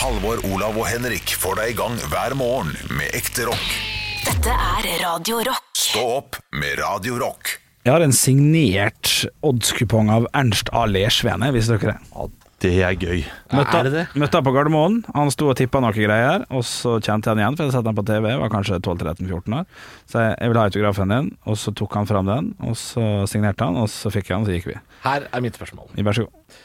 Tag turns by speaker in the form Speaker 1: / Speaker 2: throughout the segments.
Speaker 1: Halvor, Olav og Henrik får deg i gang hver morgen med ekte rock.
Speaker 2: Dette er Radio Rock.
Speaker 1: Stå opp med Radio Rock.
Speaker 3: Jeg har en signert odds-kupong av Ernst A. Lersvene, hvis dere det.
Speaker 4: Det er gøy.
Speaker 3: Møtte, møtte han på Gardermoen. Han sto og tippa noen greier, og så kjente jeg han igjen, for jeg hadde sett han på TV, var kanskje 12-13-14 år. Så jeg, jeg ville ha autografen din, og så tok han fram den, og så signerte han, og så fikk jeg den, og så gikk vi.
Speaker 5: Her er mitt spørsmål.
Speaker 3: Vær så god.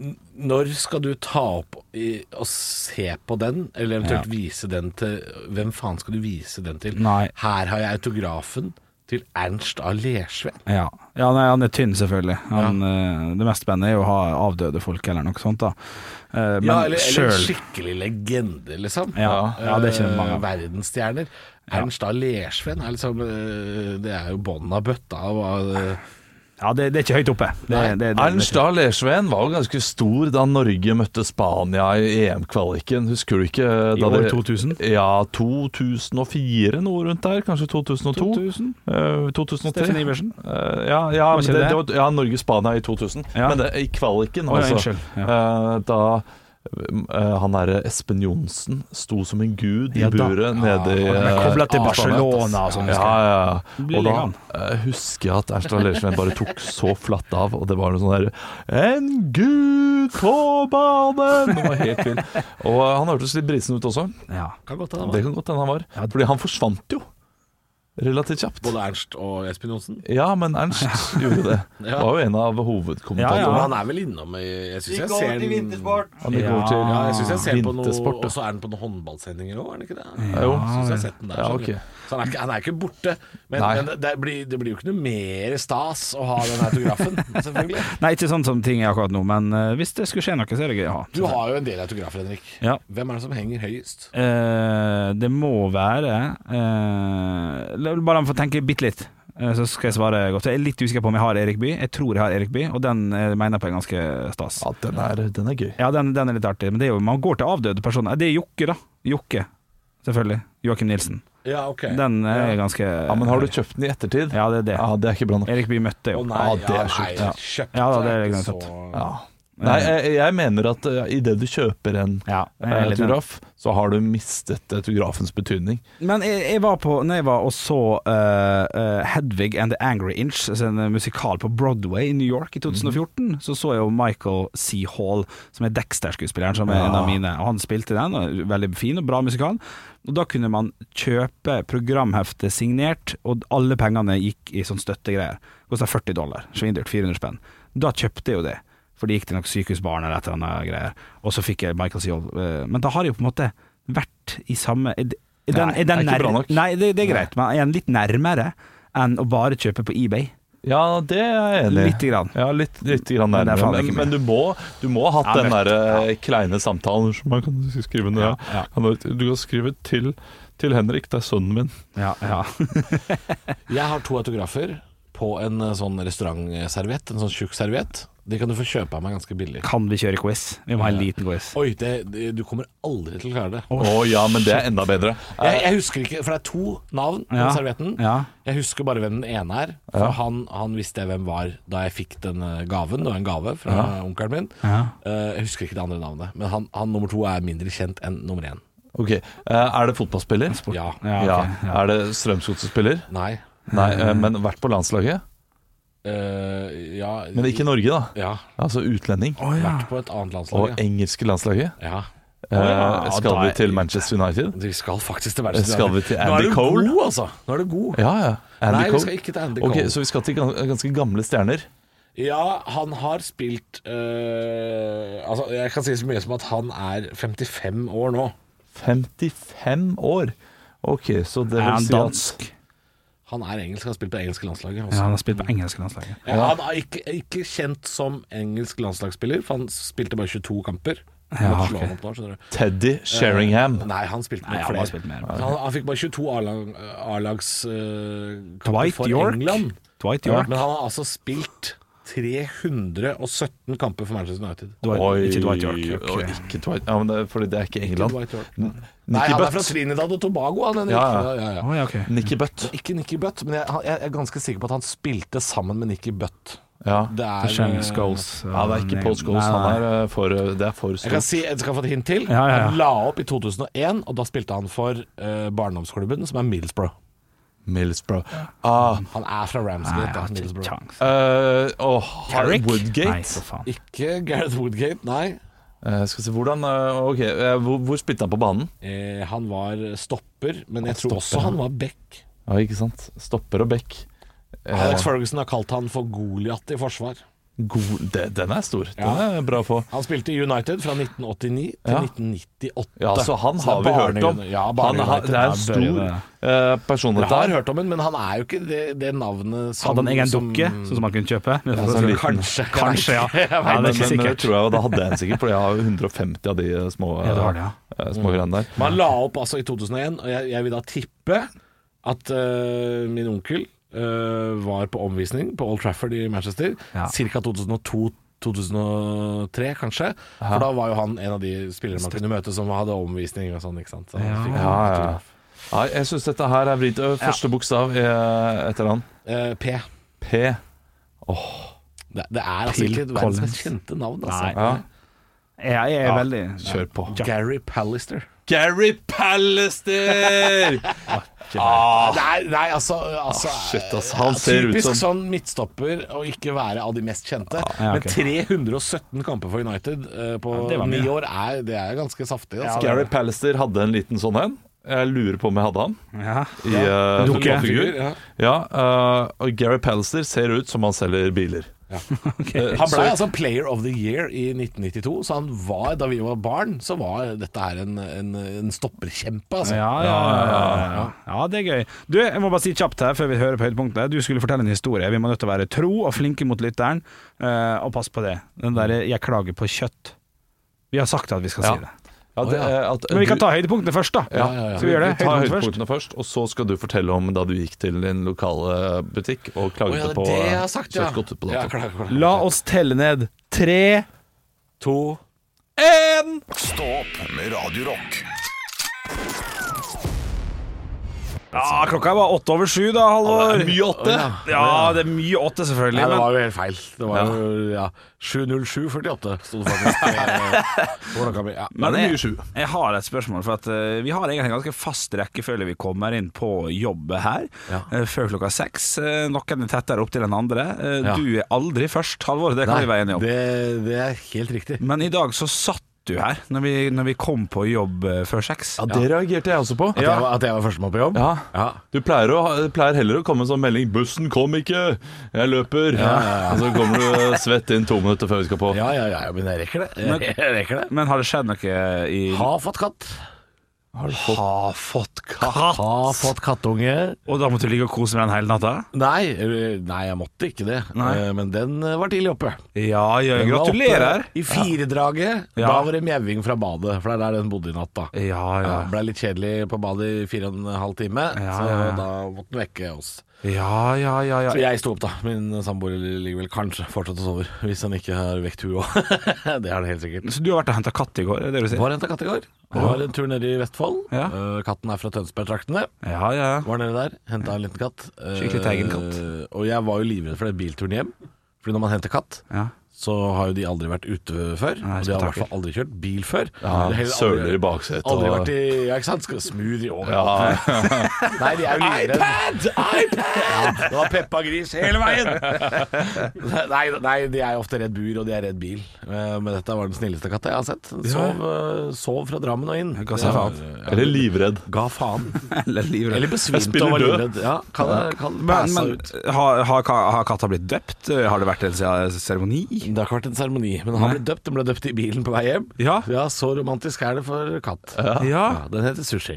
Speaker 5: Når skal du ta opp i, og se på den, eller eventuelt vise den til Hvem faen skal du vise den til?
Speaker 3: Nei.
Speaker 5: Her har jeg autografen til Ernst A. Lersveen.
Speaker 3: Ja, ja nei, han er tynn, selvfølgelig. Han, eh, det mest spennende er jo å ha avdøde folk, eller noe sånt, da. Eh, men
Speaker 5: Ja, eller, eller en
Speaker 3: sjøl
Speaker 5: skikkelig legende, liksom.
Speaker 3: Ja, ja, det kjenner mange av.
Speaker 5: Eh, Verdensstjerner. Ernst A. Lersveen er liksom eh, Det er jo bånn av bøtta. Og, eh,
Speaker 3: Ja, det, det er ikke høyt oppe. Det, det,
Speaker 5: Nei.
Speaker 3: det, det,
Speaker 4: Ernst Dahl Lersveen var jo ganske stor da Norge møtte Spania i EM-kvaliken. Husker du ikke? eh, Da
Speaker 3: I år
Speaker 4: det-
Speaker 3: 2000?
Speaker 4: Ja, 2004, noe rundt der. Kanskje 2002?
Speaker 3: 2000?
Speaker 4: Eh, 2003?
Speaker 3: Steffen Iversen?
Speaker 4: Eh, ja, ja,
Speaker 3: Var
Speaker 4: men
Speaker 3: ikke
Speaker 4: det,
Speaker 3: det?
Speaker 4: det var, ja Norge-Spania i 2000.
Speaker 3: Ja.
Speaker 4: Men det, i kvaliken,
Speaker 3: Å, ja,
Speaker 4: altså.
Speaker 3: unnskyld.
Speaker 4: eh, da eh, han derre Espen Johnsen sto som en gud i
Speaker 3: Ja da. Ah,
Speaker 4: buret nede i
Speaker 3: Han er
Speaker 4: eh,
Speaker 3: koblet til
Speaker 4: Spania.
Speaker 3: Barcelona og sånn, husker jeg.
Speaker 4: Ja, ja, ja.
Speaker 3: Blir
Speaker 4: Og da
Speaker 3: liggende.
Speaker 4: eh, husker jeg at Erstad Lersveen bare tok så flatt av, og det var noe sånn derre En gud på banen! Det var helt vilt. Og eh, han hørtes litt brisen ut også.
Speaker 3: Ja.
Speaker 5: kan godt hende
Speaker 4: Det
Speaker 5: det var
Speaker 4: kan godt hende han var. Fordi han forsvant jo relativt kjapt.
Speaker 5: både Ernst og Espen Johnsen.
Speaker 4: Ja, men Ernst gjorde det.
Speaker 5: Ja.
Speaker 4: Var jo en av
Speaker 3: Ja.
Speaker 5: Men
Speaker 4: hovedkommentatorene.
Speaker 5: han er vel innom i Jeg syns jeg ser den-
Speaker 4: Han gikk
Speaker 3: Ja.
Speaker 4: over til
Speaker 5: Ja, jeg synes jeg ser på noe
Speaker 4: vintersport.
Speaker 5: Og
Speaker 4: da.
Speaker 5: så er den på noen håndballsendinger òg, er den ikke det?
Speaker 4: Ja, jo.
Speaker 5: Jeg synes jeg har sett den der.
Speaker 4: Ja,
Speaker 5: skjønner du.
Speaker 4: ok.
Speaker 5: Så han er, ikke, han er ikke borte. Men,
Speaker 4: Nei.
Speaker 5: men det, blir, det blir jo ikke noe mer stas å ha den autografen, selvfølgelig.
Speaker 3: Nei, ikke sånn som ting er akkurat nå, men eh, hvis det skulle skje noe, så er det gøy å ha.
Speaker 5: Du har jo en del autografer, Henrik.
Speaker 3: Ja.
Speaker 5: Hvem er det som henger høyest?
Speaker 3: Eh, det må være eh, La la bare han få tenke bitte litt, eh, så skal jeg svare godt. Jeg er litt usikker på om jeg har Erik Bye. Jeg tror jeg har Erik Bye, og den eh, mener jeg på er ganske stas.
Speaker 4: Ja, den er, den er gøy.
Speaker 3: Ja, den, den er litt artig, men det er jo, man går til avdøde personer. Eh, Det er Jokke, da. Jokke, selvfølgelig. Joakim Nilsen.
Speaker 5: Ja, ok.
Speaker 3: Den er ganske
Speaker 4: Ja, Men har du kjøpt den i ettertid?
Speaker 3: Ja, det er det.
Speaker 4: Ja, det er ikke bra nok.
Speaker 3: Erik Bye møtte
Speaker 5: Å
Speaker 3: jo.
Speaker 5: nei,
Speaker 4: Ja, det er sjukt.
Speaker 5: Ja, nei, kjøpt,
Speaker 3: Ja, da, det er
Speaker 5: ikke
Speaker 3: greit.
Speaker 5: så-
Speaker 4: Ja. Nei, jeg, jeg mener at uh, idet du kjøper en
Speaker 3: Ja, jeg
Speaker 4: eh,
Speaker 3: er litt enig.
Speaker 4: autograf, så har du mistet eh, autografens betydning.
Speaker 3: Men jeg, jeg var på Når jeg var og så eh, eh, Hedvig and the Angry Inch altså En musikal på Broadway i New York i 2014 Så så jeg jo Michael C. Hall Som er Dexter-skuespilleren Som er en av mine Og han spilte den og Veldig fin og bra musikal Og da kunne man kjøpe programheftet signert Og alle pengene gikk i sånn støttegreier Kostet 40 dollar Svindyrt, 400 spenn Da kjøpte jeg jo det for det gikk til noen sykehusbarn eller et eller annet greier Og så fikk jeg Michael C. Hall eh, Men da har jeg jo på en måte vært i samme er det- er den, er den
Speaker 4: Nei, det er ikke
Speaker 3: nær-
Speaker 4: bra nok.
Speaker 3: Nei, det, det er greit, men er den litt nærmere enn å bare kjøpe på eBay?
Speaker 4: Ja, det er jeg enig i.
Speaker 3: Lite grann.
Speaker 4: Ja, litt, litt grann
Speaker 3: Men det er
Speaker 4: nærmere.
Speaker 3: faen
Speaker 4: Men,
Speaker 3: ikke mye.
Speaker 4: men du, må, du må ha hatt
Speaker 3: Ja,
Speaker 4: den
Speaker 3: vet
Speaker 4: der eh, kleine samtalen som man kan skrive ned.
Speaker 3: Ja, ja.
Speaker 4: Kan Du du kan skrive til, til Henrik, det er sønnen min.
Speaker 3: Ja, ja.
Speaker 5: Jeg har to autografer på en eh, sånn restaurantserviett, en sånn tjukk serviett. De kan du få kjøpe av meg ganske billig.
Speaker 3: Kan vi kjøre quiz? Vi må ha en liten quiz.
Speaker 5: Oi, det, det, du kommer aldri til å klare det.
Speaker 4: Å ja, men det er enda bedre.
Speaker 5: Jeg, jeg husker ikke, for det er to navn på
Speaker 3: Ja.
Speaker 5: servietten.
Speaker 3: Ja.
Speaker 5: Jeg husker bare hvem den ene er. For han, han visste jeg hvem var da jeg fikk den eh, gaven. Det var en gave fra onkelen min.
Speaker 3: Ja.
Speaker 5: Eh, jeg husker ikke det andre navnet. Men han, han nummer to er mindre kjent enn nummer én.
Speaker 4: Ok, eh, Er det fotballspiller?
Speaker 5: Ja.
Speaker 3: Ja, ok.
Speaker 4: Er det Strømsgodset-spiller?
Speaker 5: Nei.
Speaker 4: Nei, eh, men vært på landslaget?
Speaker 5: Eh, ja
Speaker 4: Men ikke Norge, da.
Speaker 5: Ja.
Speaker 4: Altså utlending.
Speaker 5: Vært på et annet landslag.
Speaker 4: Og engelske landslaget.
Speaker 5: ja. ja.
Speaker 4: Eh,
Speaker 3: ja,
Speaker 4: skal
Speaker 3: da
Speaker 4: vi
Speaker 3: er-
Speaker 4: til Manchester United?
Speaker 5: De skal faktisk til
Speaker 4: Eh,
Speaker 5: verdenscupen.
Speaker 4: Skal vi til
Speaker 5: Nå er
Speaker 4: Andy
Speaker 5: du
Speaker 4: Cole?
Speaker 5: god, altså! Nå er du god.
Speaker 4: Ja, ja. Andy
Speaker 5: Nei, vi
Speaker 4: Cole.
Speaker 5: skal ikke til Andy
Speaker 4: Ok,
Speaker 5: Cole.
Speaker 4: Så vi skal til gans- ganske gamle stjerner.
Speaker 5: Ja, han har spilt eh, Altså, jeg kan si så mye som at han er 55 år nå.
Speaker 4: 55 år! Ok, så det
Speaker 3: Er
Speaker 4: vil
Speaker 3: han
Speaker 4: si
Speaker 3: dansk?
Speaker 5: Han er engelsk, han har spilt på det engelske landslaget
Speaker 3: Ja,
Speaker 5: også.
Speaker 3: han har spilt på
Speaker 4: Mm.
Speaker 3: engelske landslaget.
Speaker 5: Ja. Han er ikke, ikke kjent som engelsk landslagsspiller, for han spilte bare 22 kamper.
Speaker 3: Ja,
Speaker 5: Måtte slå
Speaker 3: ok.
Speaker 5: han opp nå, skjønner du.
Speaker 4: at Teddy Sheringham.
Speaker 5: Eh, Nei, han spilte
Speaker 3: Nei,
Speaker 5: med
Speaker 3: han har
Speaker 5: flere.
Speaker 3: spilt mer.
Speaker 5: Så Han, han fikk bare 22 A-lag- eh, A-lagskamper
Speaker 3: Dwight
Speaker 5: for
Speaker 3: York.
Speaker 5: England.
Speaker 3: Dwight
Speaker 5: Ja,
Speaker 3: York.
Speaker 5: men han har altså spilt 317 kamper for Manchester United.
Speaker 3: Dwight, ikke Dwight York.
Speaker 4: og
Speaker 3: ok.
Speaker 4: ikke Dwight, ja, men det, er fordi det er ikke England.
Speaker 5: Dwight York. Nei,
Speaker 4: Nicky
Speaker 5: han er fra
Speaker 4: Butt.
Speaker 5: Trinidad og Tobago, han Henrik.
Speaker 4: Ja, ja.
Speaker 5: ja, ja.
Speaker 3: Å, ja, ok.
Speaker 4: Nicky Butt.
Speaker 5: Ikke Nicky Butt, men jeg, han- jeg er eh, ganske sikker på at han spilte sammen med Nicky Butt.
Speaker 4: Ja.
Speaker 5: Det
Speaker 3: Det
Speaker 5: er,
Speaker 3: skjer med Scholes.
Speaker 4: ja, det er ikke Paul Scholes.
Speaker 3: Nei, nei,
Speaker 4: Han er eh, for, det er for
Speaker 5: Jeg kan
Speaker 4: stort.
Speaker 5: si, jeg skal få et hint til.
Speaker 3: Ja, ja, ja.
Speaker 5: Han la opp i 2001, og da spilte han for eh, barndomsklubben, som er Middlesbrough.
Speaker 4: Middlesbrough. Ah,
Speaker 5: Han er fra
Speaker 3: Nei,
Speaker 5: Ramsgate,
Speaker 3: jeg har
Speaker 5: da.
Speaker 3: ikke
Speaker 5: Middlesbrough.
Speaker 3: kjangs.
Speaker 4: eh, åh,
Speaker 3: Carrick?
Speaker 4: Woodgate?
Speaker 3: Nei, for faen.
Speaker 5: Ikke Gareth Woodgate, nei.
Speaker 4: Eh, skal vi se, hvordan eh, Ok, eh, hvor, hvor spilte han på banen?
Speaker 5: Eh, han var stopper, men jeg tror
Speaker 4: stopper,
Speaker 5: også han var back.
Speaker 4: Ja, ikke sant? Stopper og back. Eh,
Speaker 5: Alex Ferguson har kalt han for Goliat i forsvar.
Speaker 4: god, de, den er stor.
Speaker 5: Ja.
Speaker 4: Den er bra å få.
Speaker 5: Han spilte i United fra 1989 til
Speaker 4: Ja.
Speaker 5: 1998.
Speaker 4: Ja, så han
Speaker 5: det
Speaker 4: har
Speaker 5: er
Speaker 4: vi
Speaker 5: barne-
Speaker 4: hørt om.
Speaker 5: Ja,
Speaker 4: han,
Speaker 5: barne-
Speaker 4: har- det er en
Speaker 3: United,
Speaker 4: stor
Speaker 3: ja,
Speaker 4: eh, personlighet
Speaker 5: Dere har
Speaker 4: der.
Speaker 5: hørt om ham, men han er jo ikke det, det navnet som
Speaker 3: Hadde han egen
Speaker 5: som-
Speaker 3: dukke, sånn som han kunne kjøpe? Men-
Speaker 4: sånn liten.
Speaker 3: kanskje, kanskje, ja. ja
Speaker 4: Men,
Speaker 3: det er
Speaker 4: men,
Speaker 3: ikke
Speaker 4: men det
Speaker 3: sikkert.
Speaker 4: tror jeg, og da hadde jeg den sikkert, for jeg har 150 av de eh, små,
Speaker 3: Ja, du har det, ja.
Speaker 4: eh, små greiene der.
Speaker 5: Men han la opp altså i 2001, og jeg, jeg vil da tippe at øh, min onkel øh, var på omvisning på Old Trafford i Manchester,
Speaker 3: Ja.
Speaker 5: ca. 2002-2003 kanskje. For da var jo han en av de spillere man kunne møte som hadde omvisning og sånn, ikke sant. Så han
Speaker 3: Ja.
Speaker 5: fikk
Speaker 4: Ja, ja.
Speaker 5: autograf.
Speaker 4: Nei, jeg syns dette her er vridd. Ø, Første bokstav er et eller annet.
Speaker 5: Eh, P.
Speaker 4: P.
Speaker 5: Det, det er altså
Speaker 3: Phil
Speaker 5: ikke verdens mest
Speaker 3: Collins.
Speaker 5: kjente navn,
Speaker 3: Nei.
Speaker 5: altså.
Speaker 4: Ja,
Speaker 3: Jeg er veldig
Speaker 4: kjør på.
Speaker 5: Gary Pallister.
Speaker 4: Gary Pallister!
Speaker 5: Nei, nei, altså, altså
Speaker 4: shit, ass. Han ser ut
Speaker 5: Typisk
Speaker 4: som
Speaker 5: sånn midtstopper å ikke være av de mest kjente.
Speaker 3: Ja, ok.
Speaker 5: Men 317 kamper for United eh, på
Speaker 3: det var
Speaker 5: ni
Speaker 3: mye.
Speaker 5: år, er, det er ganske saftig. Altså.
Speaker 4: Gary Pallister hadde en liten sånn en. Jeg lurer på om jeg hadde han
Speaker 3: ja.
Speaker 4: i uh,
Speaker 3: Dukke.
Speaker 4: dukkefigur.
Speaker 5: Ja.
Speaker 4: Ja, ø, og Gary Pallister ser ut som han selger biler. Eh,
Speaker 5: Han ble
Speaker 4: så-
Speaker 5: altså player of the year i 1992, så han var, da vi var barn, så var dette her en, en, en stopperkjempe, altså.
Speaker 3: Ja, ja, ja, ja. ja, det er gøy. Du, jeg må bare si kjapt her før vi hører på høydepunktet. Du skulle fortelle en historie. Vi må nødt til å være tro og flinke mot lytteren, eh, og pass på det. Den derre 'jeg klager på kjøtt'. Vi har sagt at vi skal
Speaker 4: Ja.
Speaker 3: si det.
Speaker 4: Ja, det, eh, at
Speaker 3: Men vi
Speaker 4: du-
Speaker 3: kan ta høydepunktene først, da.
Speaker 4: Ja,
Speaker 5: ja, ja.
Speaker 3: Skal vi gjøre det?
Speaker 4: Vi tar
Speaker 3: Høydepunkt først.
Speaker 4: høydepunktene først, og så skal du fortelle om da du gikk til din lokale butikk og
Speaker 5: Å,
Speaker 4: klaget
Speaker 5: ja, det
Speaker 4: på
Speaker 5: er det jeg har sagt, ja.
Speaker 4: kjøttgodt på
Speaker 5: ja
Speaker 4: dato.
Speaker 5: klar, klar.
Speaker 3: La oss telle ned. Tre,
Speaker 5: To
Speaker 4: En!
Speaker 1: Stå opp med Radio Rock.
Speaker 3: Ja, klokka var åtte over sju da, Halvor.
Speaker 4: Mye åtte.
Speaker 3: Ja, det er mye åtte, selvfølgelig.
Speaker 5: Nei, det
Speaker 3: men-
Speaker 5: var jo helt feil. Det var jo ja, 70748 sto det faktisk. Hvordan kan vi ja.
Speaker 4: Da er det
Speaker 3: jeg-
Speaker 4: mye sju.
Speaker 3: Jeg har et spørsmål, for at eh, vi har egentlig en ganske fast rekkefølge vi kommer inn på jobbet her.
Speaker 5: Ja.
Speaker 3: eh, før klokka seks. Eh, noen er tettere opp til den andre. Eh,
Speaker 5: Ja.
Speaker 3: Du er aldri først, Halvor. Det kan vi være enige om.
Speaker 5: Det, det er helt riktig.
Speaker 3: Men i dag så satt du her, når vi, når vi kom på jobb eh, før seks.
Speaker 4: Ja, det reagerte jeg også på.
Speaker 5: At, jeg, var- at jeg var førstemann på jobb?
Speaker 4: Ja.
Speaker 5: Ja.
Speaker 4: Du pleier, å, ha- pleier heller å komme med sånn melding 'Bussen kom ikke, jeg løper'. Og så kommer du svett inn to minutter før vi skal på.
Speaker 5: Ja, ja, ja, men jeg rekker det. Jeg, jeg rekker det.
Speaker 3: Men Mm. har det skjedd noe i
Speaker 5: Har fått katt.
Speaker 4: Har du fått
Speaker 3: Har fått katt!
Speaker 5: Har fått kattunge.
Speaker 3: Og da måtte du ligge og kose med den hele natta?
Speaker 5: Nei, eh, nei, jeg måtte ikke det.
Speaker 3: Nei.
Speaker 5: Eh, Men den eh, var tidlig oppe.
Speaker 3: Ja, ja,
Speaker 5: Den var oppe
Speaker 3: gratulerer!
Speaker 5: I firedraget.
Speaker 3: Ja.
Speaker 5: Da var det mjauing fra badet, for det er der den bodde i natt, da.
Speaker 3: Ja, ja.
Speaker 5: Ja, Blei litt kjedelig på badet i fire og en halv time,
Speaker 3: Ja,
Speaker 5: så
Speaker 3: ja, ja.
Speaker 5: da måtte den vekke oss.
Speaker 3: Ja, ja, ja, ja.
Speaker 5: Så jeg sto opp, da. Min samboer ligger vel kanskje fortsatt og sover, hvis han ikke har vekt hun òg. det har det helt sikkert.
Speaker 3: Så du har vært og henta katt i går, er det det du sier?
Speaker 5: Var henta katt i går. Det var en tur nede i Vestfold.
Speaker 3: Ja.
Speaker 5: Eh, Katten er fra Tønsberg-traktene.
Speaker 3: Ja, ja.
Speaker 5: Var nede der, henta en liten katt. Eh,
Speaker 3: Skikkelig teigen katt.
Speaker 5: Og jeg var jo livredd for den bilturen hjem. Fordi når man henter katt,
Speaker 3: ja.
Speaker 5: så har jo de aldri vært ute før. og de har i hvert
Speaker 3: spetakkel.
Speaker 5: fall aldri kjørt bil før.
Speaker 4: Ja,
Speaker 5: Det er heller aldri-
Speaker 4: søler i baksetet
Speaker 5: Aldri
Speaker 4: og-
Speaker 5: vært i Ja, ikke sant? Skal smoothie over.
Speaker 4: Ja.
Speaker 5: Nei, de er jo livredd. iPad! Ja, det var Peppa Gris hele veien. Nei, nei, de er jo ofte redd bur, og de er redd bil. Eh, Men dette var den snilleste katta jeg har sett. Den Sov, eh, sov fra Drammen og inn.
Speaker 3: Ga seg
Speaker 5: Det var-
Speaker 3: faen.
Speaker 4: Eller livredd.
Speaker 5: Ga faen.
Speaker 3: Eller livredd.
Speaker 5: Eller besvimte
Speaker 4: spiller
Speaker 5: og var
Speaker 4: død.
Speaker 5: livredd. Ja, kan, kan
Speaker 3: Men,
Speaker 5: passa
Speaker 3: men
Speaker 5: ut.
Speaker 3: har, har, ka- har katta blitt døpt? Har det vært en se- seremoni?
Speaker 5: Det har ikke vært en seremoni, men han ble døpt. Den ble døpt i bilen på vei hjem.
Speaker 3: Ja.
Speaker 5: Så romantisk er det for katt. Ja, den heter Sushi.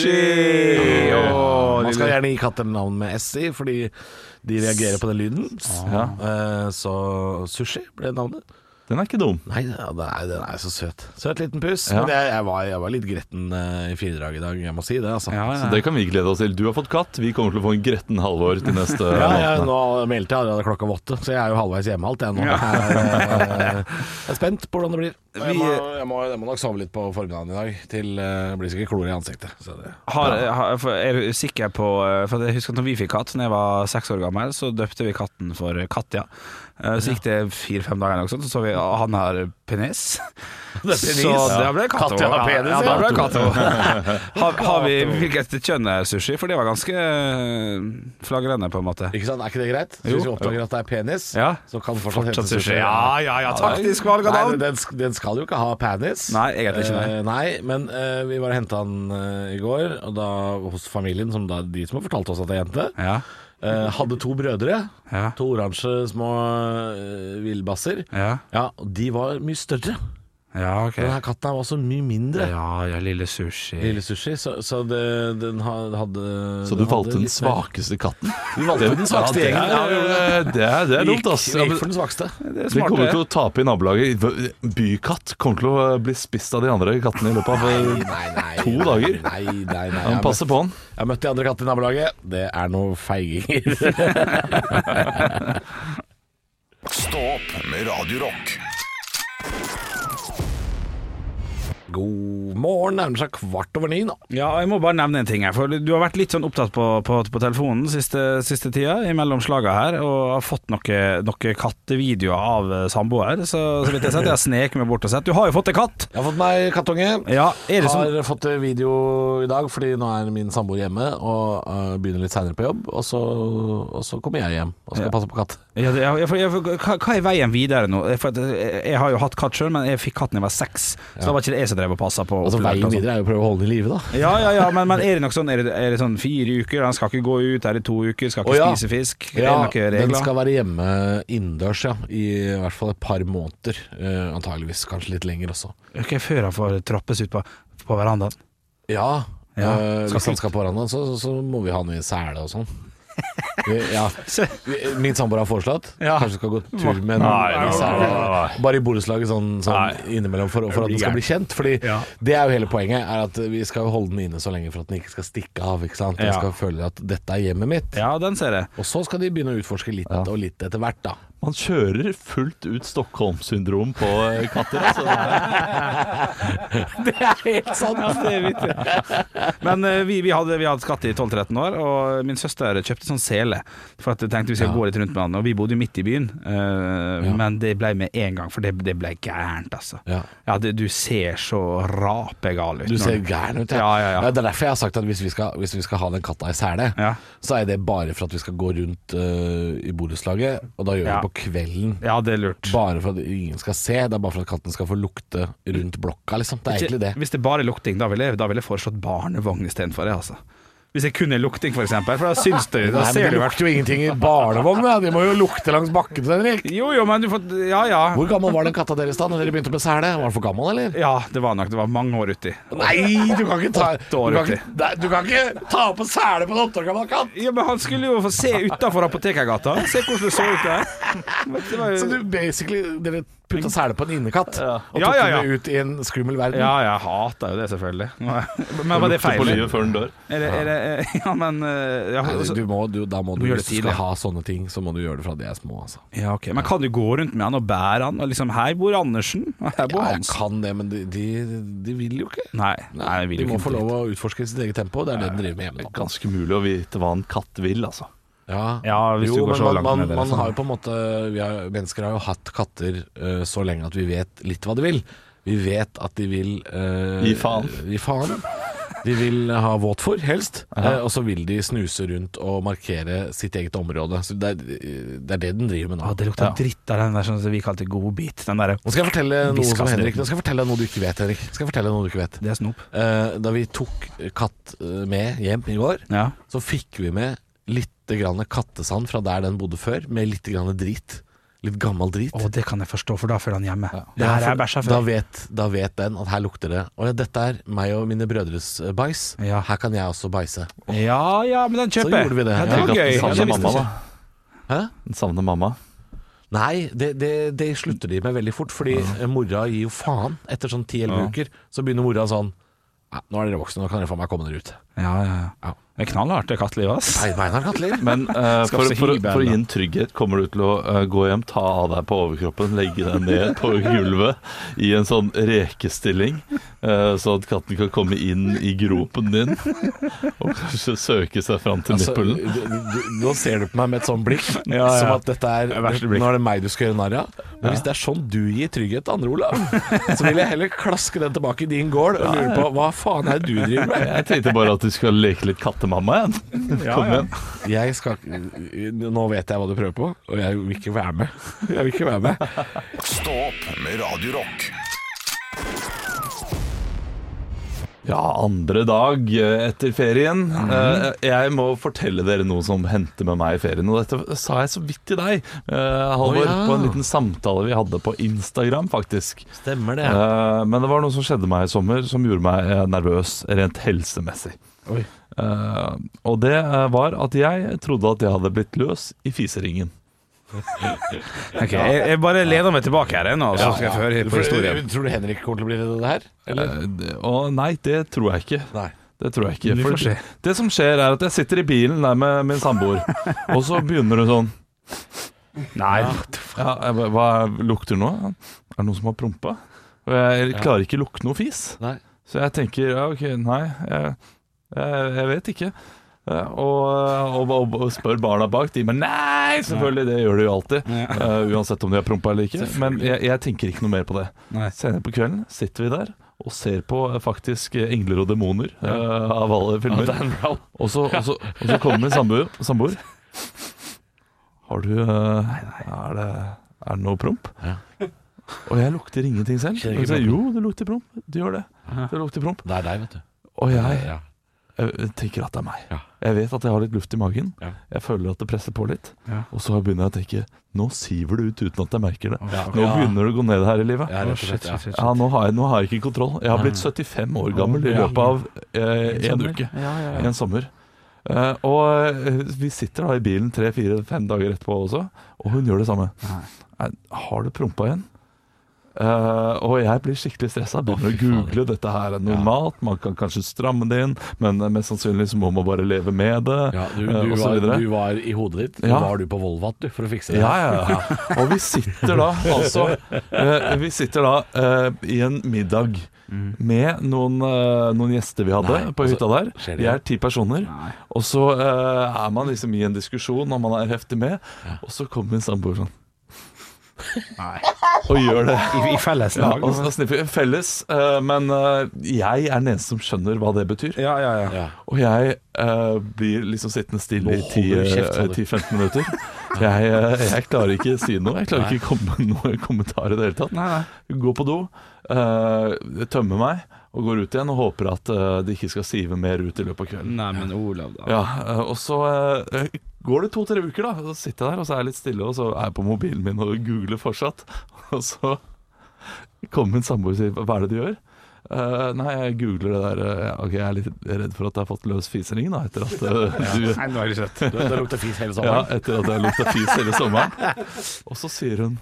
Speaker 3: Sushi! Åh,
Speaker 5: Man
Speaker 3: lille-
Speaker 5: skal gjerne gi katter navn med S i, fordi de reagerer på den lyden. Eh, Så Sushi ble navnet.
Speaker 4: Den er ikke dum.
Speaker 5: Nei, ja, den er, den er så søt. Søt liten puss.
Speaker 4: Ja.
Speaker 5: Men jeg, jeg, var, jeg var litt gretten eh, i firedrag i dag, jeg må si det. altså
Speaker 3: Ja,
Speaker 4: Så det kan vi glede oss til. Du har fått katt, vi kommer til å få en gretten halvår til neste
Speaker 5: Ja, jeg,
Speaker 4: måned.
Speaker 5: nå meldte jeg allerede klokka om åtte, så jeg er jo halvveis hjemme alt jeg nå. Jeg, er, eh, jeg er spent på hvordan det blir. Og Jeg må, jeg, må, jeg må nok sove litt på formiddagen i dag, til eh, det blir sikkert klor i ansiktet. Så det.
Speaker 3: Har, har, for- er du sikker på eh, For jeg husker at når vi fikk katt Da jeg var seks år gammel, så døpte vi katten for Katja. Eh, Så gikk det fire-fem dager, eller noe sånt, så så vi at han har penis. Så da ble det Katto.
Speaker 5: Katja har penis,
Speaker 3: ja, da
Speaker 5: ja.
Speaker 3: ble det Katto. har, har vi hvilket kjønn er sushi? For det var ganske eh, flagrende, på en måte.
Speaker 5: Ikke sant, Er ikke det greit? Så hvis vi oppdager at det er penis,
Speaker 3: Ja.
Speaker 5: så kan det fortsatt hete
Speaker 3: Fortsatt sushi.
Speaker 5: sushi.
Speaker 3: Ja, ja, ja. Taktisk valg av
Speaker 5: Nei,
Speaker 3: navn.
Speaker 5: den, den sk- den skal jo ikke ha penis.
Speaker 3: Nei, egentlig ikke, nei.
Speaker 5: Eh, nei, men eh, vi bare henta den eh, i går, og da hos familien, som da de som har fortalt oss at det er jente.
Speaker 3: Ja.
Speaker 5: eh, hadde to brødre.
Speaker 3: Ja.
Speaker 5: To oransje små eh, villbasser.
Speaker 3: Ja.
Speaker 5: og de var mye større.
Speaker 3: ja, ok.
Speaker 5: Denne katten her var så mye mindre.
Speaker 3: Ja, ja, lille sushi.
Speaker 5: Lille Sushi, så, så det, den ha- hadde
Speaker 4: Så du
Speaker 5: den
Speaker 4: valgte
Speaker 5: hadde
Speaker 4: den
Speaker 5: litt mer-
Speaker 4: svakeste katten?
Speaker 5: Du valgte den svakste
Speaker 4: ja,
Speaker 5: gjengen. Ja,
Speaker 4: det
Speaker 5: gjorde det.
Speaker 4: er- Det er, det er dumt, ass.
Speaker 5: Gikk,
Speaker 4: Ja, men
Speaker 5: gikk for den svakeste.
Speaker 3: Det er
Speaker 4: de kommer
Speaker 3: smart,
Speaker 4: til
Speaker 3: det.
Speaker 4: å tape i nabolaget. Bykatt kommer til å eh, bli spist av de andre kattene i løpet av eh,
Speaker 5: Nei, nei,
Speaker 4: To
Speaker 5: nei,
Speaker 4: dager?
Speaker 5: Nei, nei, nei.
Speaker 4: Han passer på han.
Speaker 5: Jeg har møtt de andre kattene i nabolaget. Det er noe feiginger.
Speaker 1: Stå opp med Radio Rock.
Speaker 5: God morgen, nærmer seg kvart over ni nå.
Speaker 3: Ja, og jeg må bare nevne en ting her, for du har vært litt sånn opptatt på, på, på telefonen siste, siste tida, imellom slaga her, og har fått noen noe kattevideoer av eh, samboer, så, så vidt jeg har sett. Jeg har snek meg bort og sett. Du har jo fått en katt!
Speaker 5: Jeg har fått meg kattunge.
Speaker 3: Ja, er det sånn
Speaker 5: Har fått eh, video i dag, fordi nå er min samboer hjemme og øh, begynner litt seinere på jobb. Og så, og så kommer jeg hjem og skal
Speaker 3: Ja.
Speaker 5: passe på katt.
Speaker 3: ja, det- ja, for- ja, for hva, hva er veien videre nå? For at, eh, jeg har jo hatt katt sjøl, men jeg fikk katten da jeg var seks, så da var ikke det jeg som drev og passa på.
Speaker 5: Altså
Speaker 3: opplært og
Speaker 5: Veien
Speaker 3: sånt.
Speaker 5: videre er jo å prøve å holde den i live, da.
Speaker 3: Ja, ja, ja, men, men er det nok sånn Er det, er det sånn fire uker? Han skal ikke gå ut, er det to uker? Skal ikke
Speaker 5: Å, ja.
Speaker 3: spise fisk?
Speaker 5: Ja,
Speaker 3: er det noen
Speaker 5: den
Speaker 3: regler?
Speaker 5: skal være hjemme innendørs, ja. I, hvert fall et par måneder. Uh, antageligvis kanskje litt lenger også.
Speaker 3: Ok, Før han får trappes ut på, på verandaen?
Speaker 5: Ja,
Speaker 3: Ja,
Speaker 5: øh,
Speaker 3: skal
Speaker 5: hvis han
Speaker 3: ut.
Speaker 5: skal på verandaen, så, så, så må vi ha noe i sele og sånn. Vi- Ja. vi- Min samboer har foreslått
Speaker 3: Ja.
Speaker 5: Kanskje vi skal gå tur med en
Speaker 4: Nei,
Speaker 5: i
Speaker 4: nei,
Speaker 5: sele.
Speaker 4: nei,
Speaker 5: Bare i borettslaget sånn, sånn innimellom for, for at den skal bli kjent. Fordi det er jo hele poenget, er at vi skal jo holde den inne så lenge for at den ikke skal stikke av. Ikke sant? Den
Speaker 3: Ja.
Speaker 5: skal føle at 'dette er hjemmet mitt'.
Speaker 3: Ja, den ser jeg.
Speaker 5: Og så skal de begynne å utforske litt og litt etter hvert, da.
Speaker 4: Man kjører fullt ut Stockholm-syndrom på eh, katter. Altså.
Speaker 5: Det er helt sant!
Speaker 3: Men eh, vi, vi, hadde, vi hadde katt i 12-13 år, og min søster kjøpte sånn sele. For at jeg tenkte vi skal gå litt rundt med han. Og vi bodde jo midt i byen, eh, men det ble med en gang, for det, det ble gærent, altså.
Speaker 5: Ja.
Speaker 3: det, du ser så rapegal ut.
Speaker 5: Du
Speaker 3: når
Speaker 5: ser gæren ut.
Speaker 3: Ja, ja, ja.
Speaker 5: Det er derfor jeg har sagt at hvis vi skal, hvis vi skal ha den katta i sele,
Speaker 3: Ja.
Speaker 5: så er det bare for at vi skal gå rundt øh, i borettslaget, og da gjør vi
Speaker 3: Ja.
Speaker 5: det på kvelden.
Speaker 3: Ja, det er lurt.
Speaker 5: Bare for at ingen skal se, det er bare for at katten skal få lukte rundt blokka, liksom. Det er egentlig det.
Speaker 3: Hvis det bare er lukting, da ville jeg, da ville jeg foreslått barnevogn istedenfor det, altså. Hvis jeg kunne lukting, for eksempel. For da syns du
Speaker 5: Nei,
Speaker 3: Da
Speaker 5: men
Speaker 3: ser
Speaker 5: det
Speaker 3: du hvert
Speaker 5: lukter jo ingenting i barnevogn, da. de må jo lukte langs bakken, Henrik.
Speaker 3: Jo, jo, men du får Ja, ja.
Speaker 5: Hvor gammel var den katta deres da når dere begynte med sele? Var den for gammel, eller?
Speaker 3: Ja, det var nok. Det var mange år uti.
Speaker 5: Nei, du kan ikke ta, du
Speaker 3: Åtte år
Speaker 5: kan
Speaker 3: uti.
Speaker 5: ikke, nei, du kan ikke ta på sele på en åtte år gammel katt!
Speaker 3: Ja, men Han skulle jo få se utafor Apotekergata. Se hvordan det så ut der. Men Det var
Speaker 5: Så du
Speaker 3: jo
Speaker 5: basically Dere putta sele på en innekatt og tok
Speaker 3: Ja, ja, ja.
Speaker 5: henne ut i en skummel verden.
Speaker 3: ja, jeg hata jo det, selvfølgelig. Men var det
Speaker 4: Lukter på
Speaker 3: feil?
Speaker 4: livet før den dør.
Speaker 3: Er det, er det, ja, men eh, ja,
Speaker 5: Nei,
Speaker 3: altså-
Speaker 5: du må, du, da må du,
Speaker 3: gjøre det
Speaker 5: hvis du skal
Speaker 3: tidlig.
Speaker 5: ha sånne ting, så må du gjøre det fra de er små. Altså.
Speaker 3: ja, ok. Men kan du gå rundt med han og bære han? Og liksom 'Her bor Andersen', og 'her bor
Speaker 5: Ja, jeg
Speaker 3: Hans'.
Speaker 5: kan det, men de, de, de vil jo ikke.
Speaker 3: Nei, nei, jeg vil
Speaker 5: de
Speaker 3: jo
Speaker 5: må
Speaker 3: ikke
Speaker 5: få lov å utforske sitt eget tempo. Det er det den driver med hjemme nå.
Speaker 4: Ganske umulig å vite hva en katt vil, altså.
Speaker 5: Ja.
Speaker 3: Ja, hvis
Speaker 5: jo,
Speaker 3: du går
Speaker 5: men
Speaker 3: så
Speaker 5: man,
Speaker 3: langt
Speaker 5: man,
Speaker 3: ned i det,
Speaker 5: man
Speaker 3: sånn.
Speaker 5: har jo på en måte vi har, Mennesker har jo hatt katter eh, så lenge at vi vet litt hva de vil. Vi vet at de vil eh,
Speaker 4: Gi faen.
Speaker 5: Gi faen. De vil ha våtfôr, helst. eh, og så vil de snuse rundt og markere sitt eget område. Så det, er, det er det den driver med
Speaker 3: Ja,
Speaker 5: nå.
Speaker 3: Ah, det lukta dritt av den der sånn som vi kalte godbit. Den derre
Speaker 5: Nå skal jeg fortelle noe som
Speaker 3: Viskas
Speaker 5: Henrik
Speaker 3: ned.
Speaker 5: Nå skal jeg fortelle deg noe du ikke vet, Henrik. Nå Skal jeg fortelle deg noe du ikke vet
Speaker 3: Det er snop.
Speaker 5: Eh, Da vi tok katt eh, med hjem i går,
Speaker 3: Ja.
Speaker 5: så fikk vi med litt grann kattesand fra der den bodde før, med litt grann drit. Litt gammel drit.
Speaker 3: Å, det kan jeg forstå, for da føler han hjemme. Det
Speaker 5: Ja,
Speaker 3: her
Speaker 5: for
Speaker 3: er bæsja
Speaker 5: da
Speaker 3: før.
Speaker 5: vet, da vet den at her lukter det. Å ja, dette er meg og mine brødres eh, bæsj.
Speaker 3: Ja.
Speaker 5: Her kan jeg også bæsje.
Speaker 3: Ja ja, men den kjøper jeg.
Speaker 5: gjorde vi det.
Speaker 3: Ja, det
Speaker 5: Tenk
Speaker 3: var
Speaker 5: at
Speaker 3: gøy.
Speaker 5: den
Speaker 3: Ja,
Speaker 4: Den
Speaker 3: det
Speaker 4: savner
Speaker 3: visste
Speaker 4: mamma,
Speaker 3: jeg
Speaker 4: da.
Speaker 5: Hæ?
Speaker 4: Den savner mamma.
Speaker 5: Nei, det, det, det slutter de med veldig fort, fordi eh, mora gir jo faen. Etter sånn 10-11 uker så begynner mora sånn «Nei, Nå er dere voksne, nå kan dere faen meg komme dere ut.
Speaker 3: Ja, ja, ja. Det er knallhardt, det kattelivet, ass.
Speaker 5: Nei, Beinar Katler.
Speaker 4: Men eh, for,
Speaker 3: seg
Speaker 4: for, for,
Speaker 3: hybel,
Speaker 4: å gi
Speaker 3: da.
Speaker 4: en trygghet, kommer du til å eh, gå hjem, ta av deg på overkroppen, legge deg ned på gulvet i en sånn rekestilling, eh, så at katten kan komme inn i gropen din og kanskje søke seg fram til
Speaker 5: Altså,
Speaker 4: nippelen?
Speaker 5: du- du- nå ser du på meg med et sånt blikk,
Speaker 3: Ja, ja.
Speaker 5: som at dette er
Speaker 3: verste blikk.
Speaker 5: Nå er det meg du skal gjøre narr av. Men hvis det er sånn du gir trygghet til andre, Olav, så vil jeg heller klaske den tilbake i din gård og lure på hva faen er det du driver med?
Speaker 4: Jeg tenkte bare at du skal leke litt kattemamma igjen. Kom igjen.
Speaker 5: Jeg skal ikke- Nå vet jeg hva du prøver på, og jeg vil ikke være med. Jeg vil ikke være med.
Speaker 1: Stå opp med Radio Rock.
Speaker 4: Ja, andre dag eh, etter ferien.
Speaker 5: Mhm.
Speaker 4: Eh, Jeg må fortelle dere noe som hendte med meg i ferien. Og dette sa jeg så vidt til deg, eh, Halvor,
Speaker 5: Å, ja.
Speaker 4: på en liten samtale vi hadde på Instagram, faktisk.
Speaker 5: Stemmer
Speaker 4: Eh, Men det var noe som skjedde meg i sommer som gjorde meg eh, nervøs rent helsemessig.
Speaker 5: Oi.
Speaker 4: Eh, og det eh, var at jeg trodde at jeg hadde blitt løs i fiseringen.
Speaker 3: Ok, jeg, jeg bare leder meg tilbake her ennå, så skal jeg få høre på historien.
Speaker 5: Tror du Henrik kommer til å bli redd av det her? Eller?
Speaker 4: Eh, det- Og nei, det tror jeg ikke.
Speaker 5: Nei.
Speaker 4: Det tror jeg ikke.
Speaker 3: Vi får
Speaker 4: For
Speaker 3: se.
Speaker 4: det, det som skjer, er at jeg sitter i bilen der med min samboer, og så begynner hun sånn
Speaker 3: Nei,
Speaker 4: ja, jeg bare, Hva lukter det nå? Er det noen som har prompa? Og jeg klarer ikke lukte noe fis.
Speaker 5: Nei.
Speaker 4: Så jeg tenker ja, ok, nei, jeg, jeg, jeg vet ikke. Eh, Og, og, og, og spør barna bak. De men nei, selvfølgelig, det gjør de jo alltid. eh, uansett om de har prompa eller ikke. Men jeg, jeg tenker ikke noe mer på det.
Speaker 3: Nei.
Speaker 4: Senere på kvelden sitter vi der og ser på eh, faktisk eh, 'Engler og demoner' eh, av alle filmer. Og så, og så, og så kommer min samboer, samboer. Har du eh, Er det, er det noe promp?
Speaker 5: Ja.
Speaker 4: Og jeg lukter ingenting selv. Og
Speaker 5: Kjenner ikke
Speaker 4: jeg sier,
Speaker 5: prompen.
Speaker 4: jo, det lukter promp. Du gjør det. Det lukter promp.
Speaker 5: Det er deg, vet du.
Speaker 4: Og jeg,
Speaker 5: Eh, Ja.
Speaker 4: jeg tenker at det er meg.
Speaker 5: Ja.
Speaker 4: Jeg vet at jeg har litt luft i magen.
Speaker 5: Ja.
Speaker 4: Jeg føler at det presser på litt.
Speaker 3: Ja.
Speaker 4: Og så begynner jeg å tenke Nå siver det ut uten at jeg merker det.
Speaker 5: Ja.
Speaker 4: Nå begynner det å gå ned her i livet.
Speaker 5: Ja, rett og slett,
Speaker 3: shit,
Speaker 5: ja.
Speaker 3: shit, shit.
Speaker 4: Ja, nå har, jeg, nå har jeg ikke kontroll. Jeg har blitt 75 år gammel i
Speaker 3: Ja.
Speaker 4: løpet av eh, en uke. En sommer. Eh, og eh, vi sitter da i bilen tre-fire-fem dager etterpå også, og hun gjør det samme. Nei, har du prompa igjen? Eh, og jeg blir skikkelig stressa. Begynner å google. Dette her er normalt. Man kan kanskje stramme det inn, men eh, mest sannsynlig så må man bare leve med det.
Speaker 5: Ja, du,
Speaker 4: eh,
Speaker 5: du,
Speaker 4: og så
Speaker 5: var,
Speaker 4: videre.
Speaker 5: du var i hodet ditt, så
Speaker 4: Ja.
Speaker 5: var du på Volvat du, for å fikse det.
Speaker 4: Ja, ja, ja. Og vi sitter da, altså eh, Vi sitter da eh, i en middag med noen, eh, noen gjester vi hadde
Speaker 5: Mm. Nei,
Speaker 4: på
Speaker 5: altså,
Speaker 4: hytta der.
Speaker 5: skjer det
Speaker 4: Vi
Speaker 5: igjen?
Speaker 4: er ti personer. Og så eh, er man liksom i en diskusjon, og man er heftig med, og så kommer min samboer sånn. Og gjør det.
Speaker 3: I, i felles
Speaker 4: Ja, altså.
Speaker 3: lag.
Speaker 4: og så sniffer vi felles, eh, men eh, jeg er den eneste som skjønner hva det betyr.
Speaker 3: Ja, ja, ja.
Speaker 5: Ja.
Speaker 4: Og jeg eh, blir liksom sittende stille i
Speaker 5: Nå
Speaker 4: ti,
Speaker 5: holder du kjeft,
Speaker 4: eh,
Speaker 5: Sander.
Speaker 4: 10-15 minutter. Jeg, eh, jeg klarer ikke si noe. Jeg klarer ikke komme med noen kommentar i det hele tatt.
Speaker 3: Nei, nei.
Speaker 4: Gå på do, eh, tømmer meg og går ut igjen og håper at eh, det ikke skal sive mer ut i løpet av kvelden.
Speaker 3: Nei, men Olav, da.
Speaker 4: Ja, eh, og så eh, går det to-tre uker, da. Og så sitter jeg der og så er jeg litt stille, og så er jeg på mobilen min og googler fortsatt. Og så kommer min samboer og sier 'hva er det du gjør'? Eh, nei, jeg googler det der eh, Ok, jeg er litt redd for at jeg har fått løs fisering, da, etter at eh, du
Speaker 3: Nei, nå er det søtt.
Speaker 5: Du, det lukter fis hele
Speaker 4: ja,
Speaker 5: sommeren.
Speaker 4: etter at jeg har lukta fis hele sommeren. Og så sier hun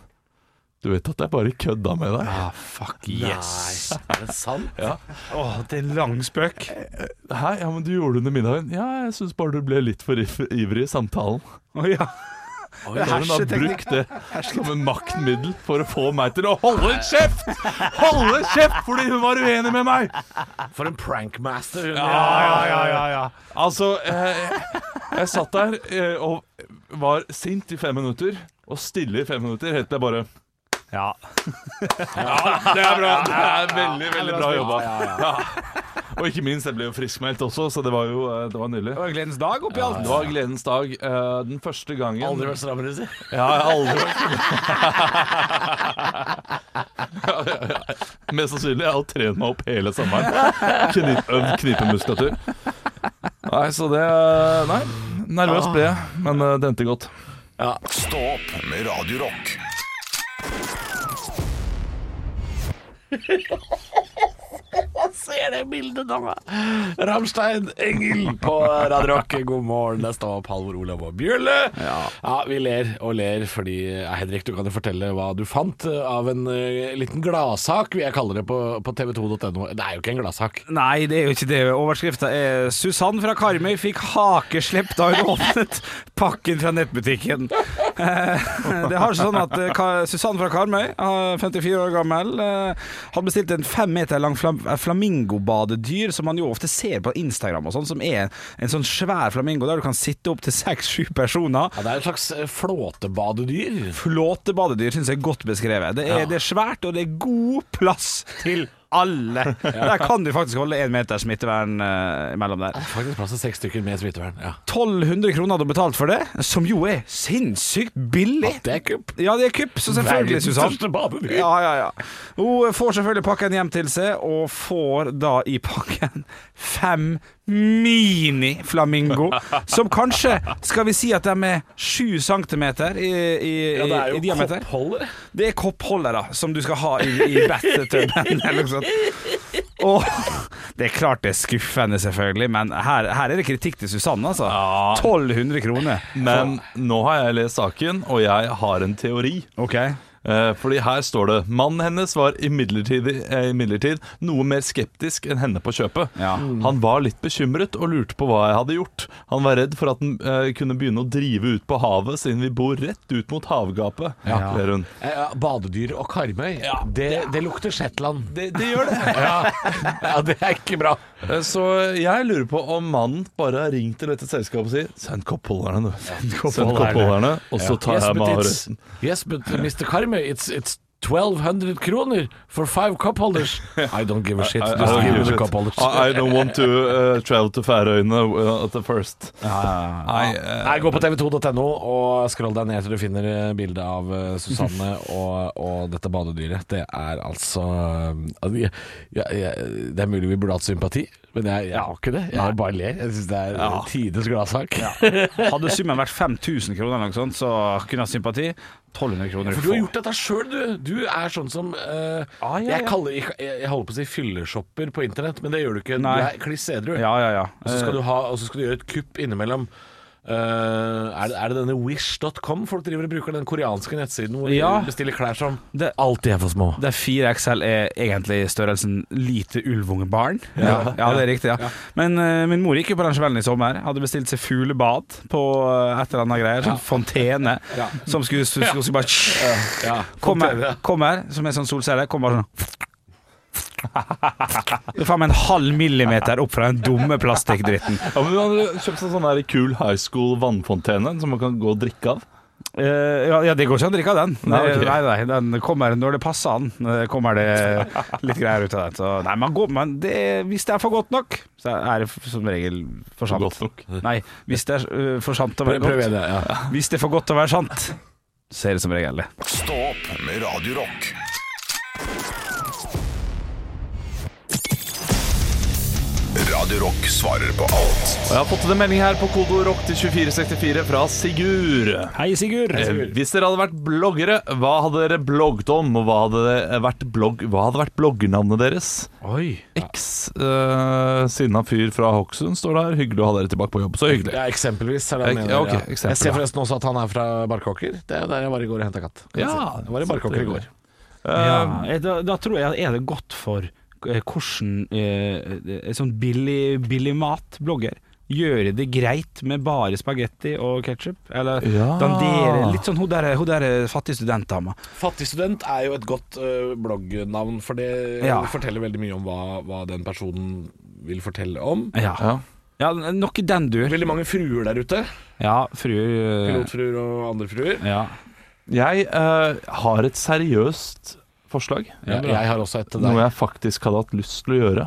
Speaker 4: Du vet at jeg bare kødda med deg?
Speaker 3: Ah, fuck yes.
Speaker 5: Nei, er det sant?
Speaker 3: Åh, det er en lang spøk.
Speaker 4: Hæ, ja, men du gjorde det under middagen? Ja, jeg syns bare du ble litt for if- ivrig i samtalen.
Speaker 3: Å ja.
Speaker 4: Når hun har
Speaker 3: Hersketeknikk.
Speaker 4: brukt det som en maktmiddel for å få meg til å holde kjeft! Holde kjeft fordi hun var uenig med meg!
Speaker 5: For en prankmaster. hun
Speaker 3: Ja,
Speaker 5: er.
Speaker 3: ja, ja, ja, ja.
Speaker 4: Altså, jeg, jeg satt der eh, og var sint i fem minutter, og stille i fem minutter, helt til jeg bare
Speaker 3: ja.
Speaker 4: Det er bra. Det er veldig, veldig bra jobba.
Speaker 5: Ja, ja,
Speaker 4: Ja. Og ikke minst, jeg ble jo friskmeldt også, så det var jo eh, det var nydelig.
Speaker 3: Det var en gledens dag oppi alt.
Speaker 4: Det var gledens dag. eh, Den første gangen
Speaker 5: Aldri vært strammere, si.
Speaker 4: Ja, jeg har aldri vært Ja, ja, ja. Mest sannsynlig. Jeg har trent meg opp hele sommeren. Kni- Øvd knipemuskulatur. Nei, så det eh, Nei. Nervøs ble jeg, men eh, det endte godt.
Speaker 1: Stå opp med Radio Rock.
Speaker 5: ser det bildet nå! Ramstein Engel på Radio Rock. God morgen. Der står Halvor Olav og Bjølle. Ja. vi ler og ler fordi ja, Henrik, du kan jo fortelle hva du fant eh, av en eh, liten gladsak, vil jeg kalle det på, på tv2.no. Det er jo ikke en gladsak.
Speaker 3: Nei, det er jo ikke det. Overskrifta er 'Susann fra Karmøy fikk hakeslepp da hun åpnet pakken fra nettbutikken'. Eh, Det har seg sånn at eh, Ka- Susann fra Karmøy, eh, 54 år gammel, eh, hadde bestilt en fem meter lang flam eh, flamingobadedyr, som man jo ofte ser på Instagram og sånn, som er en sånn svær flamingo der du kan sitte opp til seks-sju personer.
Speaker 5: Ja, det er et slags eh, flåtebadedyr.
Speaker 3: Flåte badedyr syns jeg er godt beskrevet. Det er, det er svært, og det er god plass til alle. Der kan du faktisk holde én meter smittevern eh, imellom der.
Speaker 5: Faktisk plass til seks stykker med smittevern. Ja.
Speaker 3: 1200 kroner hadde hun betalt for det, som jo er sinnssykt billig.
Speaker 5: Det er kupp.
Speaker 3: Ja, det er kupp, så selvfølgelig, Susann.
Speaker 5: badedyr.
Speaker 3: Ja, ja, ja. Hun eh, får selvfølgelig pakken hjem til seg, og får da i pakken fem mini-flamingo, som kanskje, skal vi si at de er sju centimeter i, i, i, i diameter.
Speaker 5: koppholdere.
Speaker 3: Det er koppholdere som du skal ha i, i battetubben eller noe sånt. Og det er klart det er skuffende, selvfølgelig, men her, her er det kritikk til Susanne, altså. 1200 kroner.
Speaker 4: Men nå har jeg lest saken, og jeg har en teori.
Speaker 3: Ok.
Speaker 4: Eh, Fordi her står det Mannen hennes var imidlertid eh, imidlertid noe mer skeptisk enn henne på kjøpet.
Speaker 3: Ja. Mm.
Speaker 4: Han var litt bekymret og lurte på hva jeg hadde gjort. Han var redd for at den eh, kunne begynne å drive ut på havet, siden vi bor rett ut mot havgapet.
Speaker 3: Ja.
Speaker 4: ler hun.
Speaker 5: Eh, ja, Badedyr og Karmøy, det, det lukter Shetland.
Speaker 4: Det, det gjør det.
Speaker 5: Ja. ja, det er ikke bra.
Speaker 4: Eh, Så jeg lurer på om mannen bare har ringt til dette selskapet og sier Send koppholderne, du. Send koppholderne, og så tar
Speaker 5: Yes,
Speaker 4: jeg
Speaker 5: but
Speaker 4: meg av
Speaker 5: it's-
Speaker 4: resten.
Speaker 5: Yes, but Mr. Karmøy, it's, it's 1200 kroner for five cup holders. I don't give a shit.
Speaker 4: I, I,
Speaker 5: Just
Speaker 4: don't
Speaker 5: give
Speaker 4: give
Speaker 5: me
Speaker 4: a
Speaker 5: the
Speaker 4: shit.
Speaker 5: cup holders.
Speaker 4: I, I don't want to uh, travel to Færøyene uh, at the first. I, uh,
Speaker 5: Nei, eh. Gå på tv2.no og skroll deg ned til du finner eh, bildet av eh, Susanne og, og dette badedyret. Det er altså eh, altså, jeg, jeg, jeg, Det er mulig vi burde hatt sympati, men jeg, jeg har ikke det. Jeg bare ler. Jeg syns det er ja. tidenes gladsak.
Speaker 3: Hadde summen vært 5000 kroner eller noe sånt, så kunne jeg hatt sympati. 1200 kroner.
Speaker 5: For du har gjort dette sjøl, du. Du er sånn som eh,
Speaker 3: Ah, ja,
Speaker 5: jeg,
Speaker 3: ja.
Speaker 5: kaller, jeg, jeg holder på å si fylleshopper på internett, men det gjør du ikke. Du
Speaker 3: Nei.
Speaker 5: er kliss edru.
Speaker 3: Ja, Eh. ja, ja.
Speaker 5: Og så skal du, ha, og så skal du gjøre et kupp innimellom. Eh, er, det, er det denne wish.com folk driver og bruker? Den koreanske nettsiden hvor de
Speaker 3: Ja.
Speaker 5: bestiller klær som
Speaker 3: Eh, Det-
Speaker 5: alltid er for små.
Speaker 3: Der 4XL er egentlig størrelsen lite ulvungebarn. Ja, ja, det er riktig. ja, Men eh, min mor gikk jo på den smellen i sommer. Hadde bestilt seg fuglebad på eh, et eller annet greier. Sånn fontene
Speaker 5: Ja.
Speaker 3: som skulle, skulle, skulle, bare
Speaker 5: Ja,
Speaker 3: Kommer,
Speaker 5: fontene.
Speaker 3: kommer som er sånn solcelle, kommer bare sånn Det er faen meg en halv millimeter opp fra den dumme plastikkdritten.
Speaker 4: ja, men man har kjøpt en sånn her kul high school vannfontene som man kan gå og drikke av.
Speaker 3: Eh, ja, ja, det går ikke an å drikke av den. Nei,
Speaker 4: Nei, ok.
Speaker 3: nei, nei, den kommer når det passer an. eh, Kommer det litt greier ut av den. Så nei, man går, men det, hvis det er for godt nok, så er det f- som regel for sant.
Speaker 4: Godt nok.
Speaker 3: Nei, hvis det er eh, for sant å være
Speaker 5: Prøv, prøv
Speaker 3: godt,
Speaker 5: igjen, ja.
Speaker 3: hvis det er for godt å være sant, så er det som regel det.
Speaker 1: Stå opp med Radio Rock. Radio Rock svarer på alt
Speaker 4: Og jeg har fått en melding her på kodeord rock til 2464 fra Sigurd.
Speaker 3: Hei, Sigurd.
Speaker 4: Eh, Hvis dere hadde vært bloggere, hva hadde dere blogget om? Og hva hadde, det vært blogg, hva hadde vært bloggernavnet deres?
Speaker 3: Oi.
Speaker 4: X eh, sinna fyr fra Hokksund står det her. Hyggelig å ha dere tilbake på jobb. Så hyggelig.
Speaker 5: ja, eksempelvis. Er det
Speaker 4: Ek-
Speaker 5: han mener,
Speaker 4: ja, ok,
Speaker 5: Jeg
Speaker 4: eksempel,
Speaker 5: ser
Speaker 4: ja.
Speaker 5: forresten også at han er fra Barkåker. Det er jo der jeg var i går og henta katt.
Speaker 4: Ja,
Speaker 5: jeg var i Barkåker i går.
Speaker 3: Ja, eh, da, da tror jeg er det godt for eh, hvordan eh, en sånn billig, billig mat-blogger gjør det greit med bare spagetti og ketsjup. Eller
Speaker 4: Ja.
Speaker 3: dandere Litt sånn hun der, hun der eh, fattige studentdama.
Speaker 5: Fattig student er jo et godt ø, bloggnavn, for det
Speaker 3: Ja.
Speaker 5: forteller veldig mye om hva, hva den personen vil fortelle om.
Speaker 3: Ja.
Speaker 4: Ja.
Speaker 3: ja, nok i den dur.
Speaker 5: Veldig mange fruer der ute.
Speaker 3: Ja, fruer eh,
Speaker 5: Pilotfruer og andre fruer.
Speaker 3: ja.
Speaker 4: Jeg eh, har et seriøst forslag.
Speaker 5: Ja, jeg har også et til deg.
Speaker 4: Noe jeg faktisk hadde hatt lyst til å gjøre.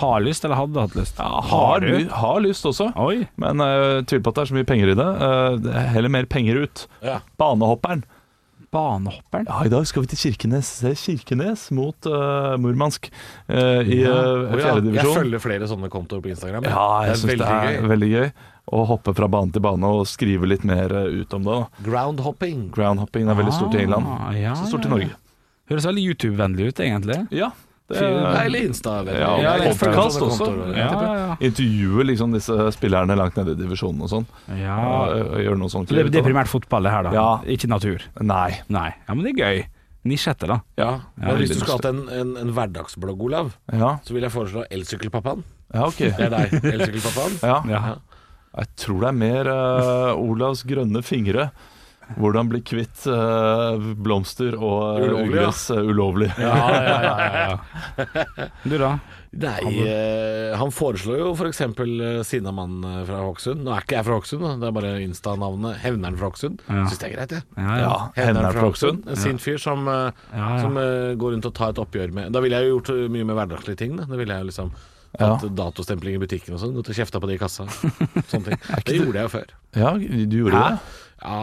Speaker 3: Har lyst, eller hadde hatt lyst?
Speaker 4: har, ly- har lyst også,
Speaker 3: Oi.
Speaker 4: men jeg tviler på at det er så mye penger i det. Eh, det er heller mer penger ut.
Speaker 5: Ja.
Speaker 4: Banehopperen.
Speaker 3: Banehopperen.
Speaker 4: Ja, I dag skal vi til Kirkenes. Se Kirkenes mot eh, Murmansk eh, i
Speaker 5: Å ja, Jeg
Speaker 4: fjerdedivisjon.
Speaker 5: følger flere sånne kontoer på Instagram.
Speaker 4: Ja, jeg syns det er
Speaker 5: gøy.
Speaker 4: veldig gøy å hoppe fra bane til bane og skrive litt mer eh, ut om det. da.
Speaker 5: Groundhopping.
Speaker 4: Groundhopping er veldig stort i England.
Speaker 3: Ah, ja,
Speaker 4: Så stort i
Speaker 3: ja, ja.
Speaker 4: Norge.
Speaker 3: Høres veldig YouTube-vennlig ut, egentlig.
Speaker 4: Ja, Det
Speaker 5: Fin-
Speaker 4: er,
Speaker 5: Deilig Insta-venn.
Speaker 4: ja,
Speaker 3: Ja, det er
Speaker 4: Podkast
Speaker 5: følelsen
Speaker 4: også.
Speaker 5: som kommer til å-
Speaker 3: Ja, ja.
Speaker 4: Intervjue liksom disse spillerne langt nede i divisjonen og sånn.
Speaker 5: Ah.
Speaker 3: Ja.
Speaker 4: Ja, og gjøre noe sånt.
Speaker 3: Så det,
Speaker 4: kult,
Speaker 3: det er
Speaker 4: da.
Speaker 3: primært fotball, det her, da.
Speaker 4: Ja.
Speaker 3: Ikke natur.
Speaker 4: Nei.
Speaker 3: Nei. Ja, men det er gøy. Nisjette, da.
Speaker 5: Ja, men hvis du
Speaker 4: veldig
Speaker 5: skulle hatt en, en, en hverdagsblogg, Olav,
Speaker 4: Ja,
Speaker 5: så vil jeg foreslå Elsykkelpappaen.
Speaker 4: ja ok.
Speaker 5: Det er deg, Elsykkelpappaen.
Speaker 4: Ja.
Speaker 3: Ja.
Speaker 4: Jeg tror det er mer eh, Olavs grønne fingre. Hvordan bli kvitt eh, blomster og uh,
Speaker 5: Ulovlig, ja.
Speaker 4: ugress eh, ulovlig.
Speaker 5: Ja, ja, ja, ja, ja.
Speaker 3: Du, da?
Speaker 5: Nei, eh, han foreslår jo f.eks. Eh, Sinnamann eh, fra Hokksund. Nå er ikke jeg fra Hokksund, da. det er bare Insta-navnet. Hevneren fra Hokksund.
Speaker 3: Ja.
Speaker 5: Syns det er greit, jeg.
Speaker 3: Ja, ja.
Speaker 4: Ja, henne er fra Hokksund.
Speaker 5: En sint fyr som, eh,
Speaker 3: Ja, ja.
Speaker 5: som eh, går rundt og tar et oppgjør med Da ville jeg jo gjort eh, mye med hverdagslige ting. Da, da ville jeg jo liksom
Speaker 4: Ja.
Speaker 5: Hatt datostempling i butikken og sånn. Gått og kjefta på de i kassa. Sånne ting. Det gjorde jeg jo før.
Speaker 4: Ja, du gjorde
Speaker 5: Hæ?
Speaker 4: det?
Speaker 5: Ja,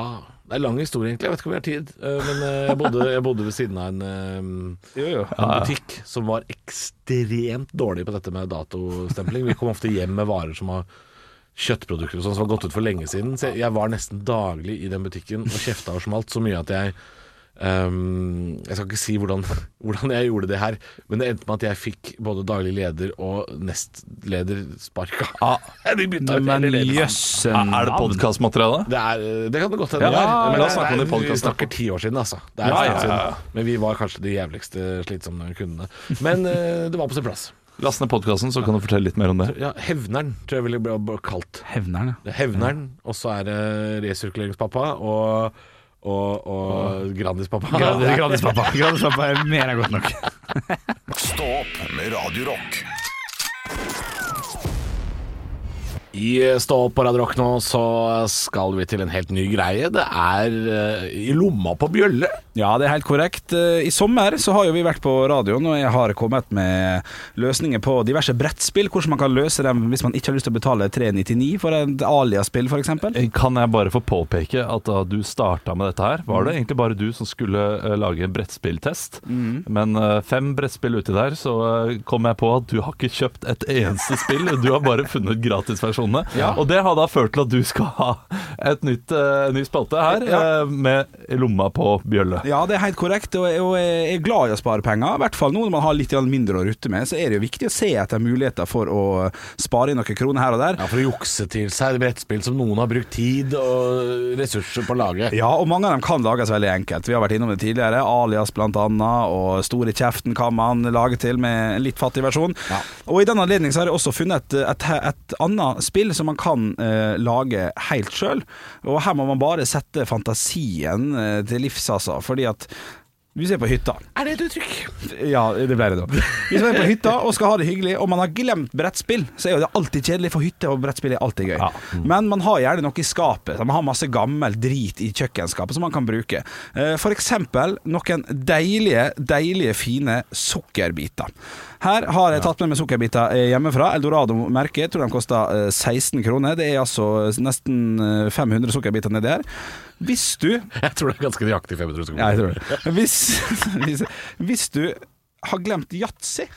Speaker 5: Det er lang historie, egentlig. Jeg vet ikke om vi har tid. Eh, Men eh, jeg bodde, jeg bodde ved siden av en eh, en butikk som var ekstremt dårlig på dette med datostempling. Vi kom ofte hjem med varer som var kjøttprodukter og sånn som var gått ut for lenge siden. Så jeg, jeg var nesten daglig i den butikken og kjefta og smalt så mye at jeg ehm, Jeg skal ikke si hvordan, hvordan jeg gjorde det her, men det endte med at jeg fikk både daglig leder og nestleder sparka. De bytta ut
Speaker 3: Men
Speaker 5: hele ledelsen.
Speaker 3: jøssen
Speaker 4: Er er det podkastmateriale?
Speaker 5: Det, er, det kan det godt hende.
Speaker 4: Ja,
Speaker 5: det er,
Speaker 4: la oss snakke om det i
Speaker 5: vi
Speaker 4: podcasten.
Speaker 5: snakker ti år siden, altså. Det er
Speaker 4: Ja,
Speaker 5: en
Speaker 4: ja,
Speaker 5: stund
Speaker 4: ja, ja.
Speaker 5: siden. Men vi var kanskje de jævligste slitsomme kundene. Men eh, det var på sin plass.
Speaker 4: Last ned podkasten, så kan du fortelle litt mer om det.
Speaker 5: Ja, Hevneren tror jeg ville bli bli kalt.
Speaker 3: Hevneren, ja.
Speaker 5: Det er Hevneren, og så er det resirkuleringspappa og, og, og Grandispappa.
Speaker 3: Gratis-pappa. Gratis-pappa er mer enn godt nok.
Speaker 1: Stå opp med Radio Rock.
Speaker 5: I eh, Stå opp på Radio Rock nå så skal vi til en helt ny greie. Det er eh, i lomma på bjølle.
Speaker 3: Ja, det er helt korrekt. Eh, I sommer så har jo vi vært på radioen, og jeg har kommet med løsninger på diverse brettspill. Hvordan man kan løse dem hvis man ikke har lyst til å betale 399 for et Alia-spill, f.eks.
Speaker 4: Eh, Kan jeg bare få påpeke at da du starta med dette her,
Speaker 3: Mm.
Speaker 4: var det egentlig bare du som skulle eh, lage en brettspilltest.
Speaker 3: Mm.
Speaker 4: Men eh, fem brettspill uti der, så eh, kom jeg på at du har ikke kjøpt et eneste spill. Du har bare funnet gratisversjonene. Og det har da ført til at du skal ha et nytt, eh, ny spalte her, eh, med lomma på bjølle.
Speaker 3: Ja, det er helt korrekt, og og jeg er glad i å spare penger. I hvert fall nå når man har litt grann mindre å rutte med, så er det jo viktig å se etter muligheter for å spare inn noen kroner her og der.
Speaker 5: Ja, For å jukse til seg brettspill som noen har brukt tid og ressurser på å lage.
Speaker 3: Ja, og mange av dem kan lages veldig enkelt. Vi har vært innom det tidligere. Alias blant annet, og Store kjeften kan man lage til med en litt fattig versjon.
Speaker 5: Ja.
Speaker 3: Og i den anledning så har jeg også funnet et, et, et annet spill som man kan eh, lage helt sjøl. Og her må man bare sette fantasien eh, til livs, altså. Fordi at vi ser på hytta.
Speaker 5: Er det et uttrykk?
Speaker 3: Ja, det ble det da. Hvis man er på hytta og skal ha det hyggelig, og man har glemt brettspill, så er jo det alltid kjedelig, for hytte og brettspill er alltid gøy. Men man har gjerne noe i skapet. så Man har masse gammel drit i kjøkkenskapet som man kan bruke. Eh, For eksempel noen deilige, deilige fine sukkerbiter. Her har jeg tatt med meg sukkerbiter eh, hjemmefra. Eldorado-merket. Jeg tror de kosta 16 kroner. Det er altså nesten eh, 500 sukkerbiter nedi her. Hvis du
Speaker 5: Jeg tror det er ganske nøyaktig 500 sekunder.
Speaker 3: ja, jeg tror det. Hvis, hvis, hvis du har glemt yatzy,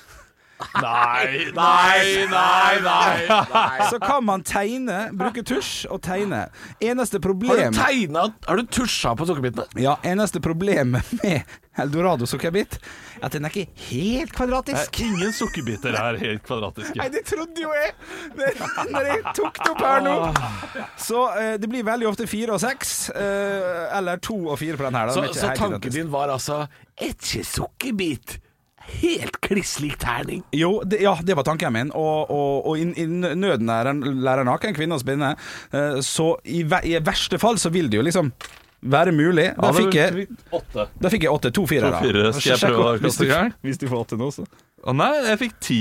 Speaker 4: Nei, nei, nei, nei!
Speaker 3: så kan man tegne, bruke tusj og tegne. Eneste
Speaker 5: Har du
Speaker 3: problem
Speaker 5: tegna Har du tusja på sukkerbitene?
Speaker 3: ja, eneste problemet med Eldorado sukkerbitt er at den er ikke helt kvadratisk.
Speaker 4: Ingen sukkerbiter er helt kvadratiske.
Speaker 3: Nei, det trodde jo jeg når når jeg tok det opp her nå.
Speaker 5: Ah.
Speaker 3: Så eh, det blir veldig ofte fire og seks, eh, eller to og fire på den her. Da.
Speaker 5: Så,
Speaker 3: Den er ikke
Speaker 5: så
Speaker 3: helt identisk.
Speaker 5: tanken din var altså Ikke sukkerbit. Helt kliss lik terning.
Speaker 3: Jo, det, ja, det var tanken min. Og, og, og i, i nøden er en lærer naken, kvinne og spinne. Eh, Så i, ve- i verste fall så vil det jo liksom være mulig. Da fikk jeg
Speaker 4: Åtte.
Speaker 3: da fikk jeg åtte, to firere.
Speaker 4: To firere. Skal jeg prøve å
Speaker 3: Hvis du-
Speaker 4: kaste i gang?
Speaker 3: Hvis du får åtte nå, så.
Speaker 4: Å nei, jeg fikk ti.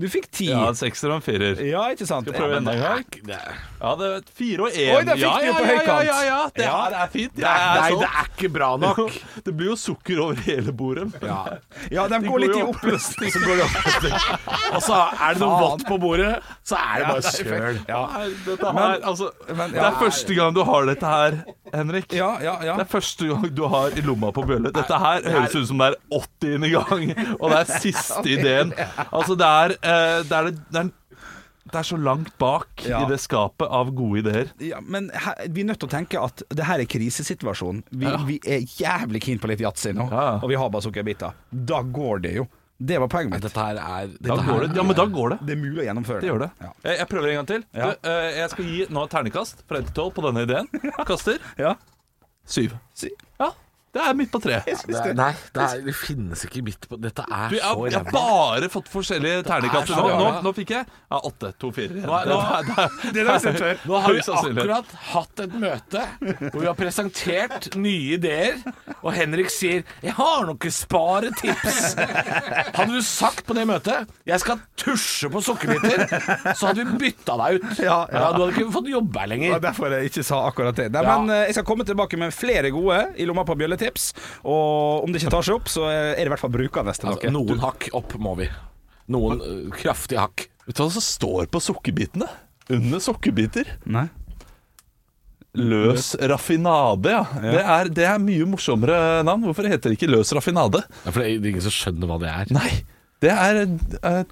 Speaker 3: Du fikk ti.
Speaker 4: Ja,
Speaker 3: Ja,
Speaker 4: en sekser og en firer.
Speaker 3: ikke sant.
Speaker 4: Skal vi prøve
Speaker 3: Ja, men-
Speaker 4: enda en gang?
Speaker 5: Det er,
Speaker 4: Ja, det er fire og én.
Speaker 3: Oi, der fikk
Speaker 4: ja,
Speaker 3: du
Speaker 4: ja,
Speaker 3: på
Speaker 4: ja,
Speaker 3: høykant.
Speaker 4: Ja, ja, ja, det
Speaker 3: Ja.
Speaker 4: er, det er fint.
Speaker 5: nei,
Speaker 4: Jeg er
Speaker 5: nei,
Speaker 4: sånn.
Speaker 5: det er ikke bra nok.
Speaker 4: Det blir jo sukker over hele bordet.
Speaker 5: Ja.
Speaker 3: Ja, de går
Speaker 4: går
Speaker 3: litt i
Speaker 4: jo opp.
Speaker 3: oppløsning.
Speaker 5: Og så Altså, er det noe vått på bordet, så er det bare søl.
Speaker 4: Nei, dette her, altså, det er første gang du har dette her, Henrik.
Speaker 3: Ja, ja, ja.
Speaker 4: Det er første gang du har i lomma på bjølle. Dette her høres ut som det er 80. gang, og det er siste ideen. Altså, det er, eh, det, er, det, det er det er så langt bak
Speaker 3: Ja.
Speaker 4: i det skapet av gode ideer.
Speaker 3: Ja, men her, vi er nødt til å tenke at det her er krisesituasjonen. Vi, vi er jævlig keen på litt yatzy nå,
Speaker 4: Ja, ja.
Speaker 3: og vi har bare sukkerbiter. Da går det jo. Det var poenget mitt.
Speaker 5: Dette her er dette
Speaker 4: Da går det.
Speaker 5: her
Speaker 4: Ja, men da går det.
Speaker 3: Det er mulig å gjennomføre.
Speaker 4: Det gjør det. Eh,
Speaker 3: Ja.
Speaker 4: Jeg, jeg prøver en gang til.
Speaker 3: Ja.
Speaker 4: Du, eh, jeg skal gi nå et ternekast fra 1 til 12 på denne ideen. Kaster
Speaker 3: Ja.
Speaker 4: syv. Ja, det er midt på treet.
Speaker 5: Det er, nei, det, er, det finnes ikke midt på Dette er
Speaker 4: Du, jeg,
Speaker 5: så
Speaker 4: jeg har
Speaker 5: ræva.
Speaker 4: bare fått forskjellige ternekaster nå.
Speaker 5: så
Speaker 4: Nå,
Speaker 5: ræva.
Speaker 4: nå fikk jeg ja, åtte, to, fire. igjen.
Speaker 5: Nå- nå-
Speaker 4: Det er- det er-
Speaker 5: Nå har vi
Speaker 4: Høy sannsynlighet.
Speaker 5: akkurat hatt et møte hvor vi har presentert nye ideer, og Henrik sier 'Jeg har noen sparetips'. Hadde du sagt på det møtet 'Jeg skal tusje på sukkerbiter', så hadde vi bytta deg ut.
Speaker 3: Ja, ja.
Speaker 5: du hadde ikke fått jobbe her
Speaker 3: Det
Speaker 5: lenger.
Speaker 3: var derfor jeg ikke sa akkurat det. Nei,
Speaker 5: Ja.
Speaker 3: Men eh, jeg skal komme tilbake med flere gode i lomma på bjølletips. Og om det ikke tar seg opp, så er det i hvert fall brukende til
Speaker 5: Altså,
Speaker 3: dere.
Speaker 5: noen hakk opp må vi. Noen øh, kraftige hakk.
Speaker 4: Vet du hva som står på sukkerbitene? Under sukkerbiter.
Speaker 3: Nei.
Speaker 4: Løs raffinade, ja. Det er, det er mye morsommere navn. Hvorfor heter det ikke løs raffinade?
Speaker 5: Ja, for det er ingen som skjønner hva det er.
Speaker 4: Nei, det er eh,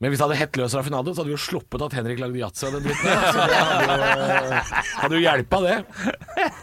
Speaker 5: Men hvis det hadde hett løs raffinado, så hadde vi jo sluppet at Henrik lagde yatzy av den dritten. her, så det Hadde jo- øh, hadde jo hjelpa,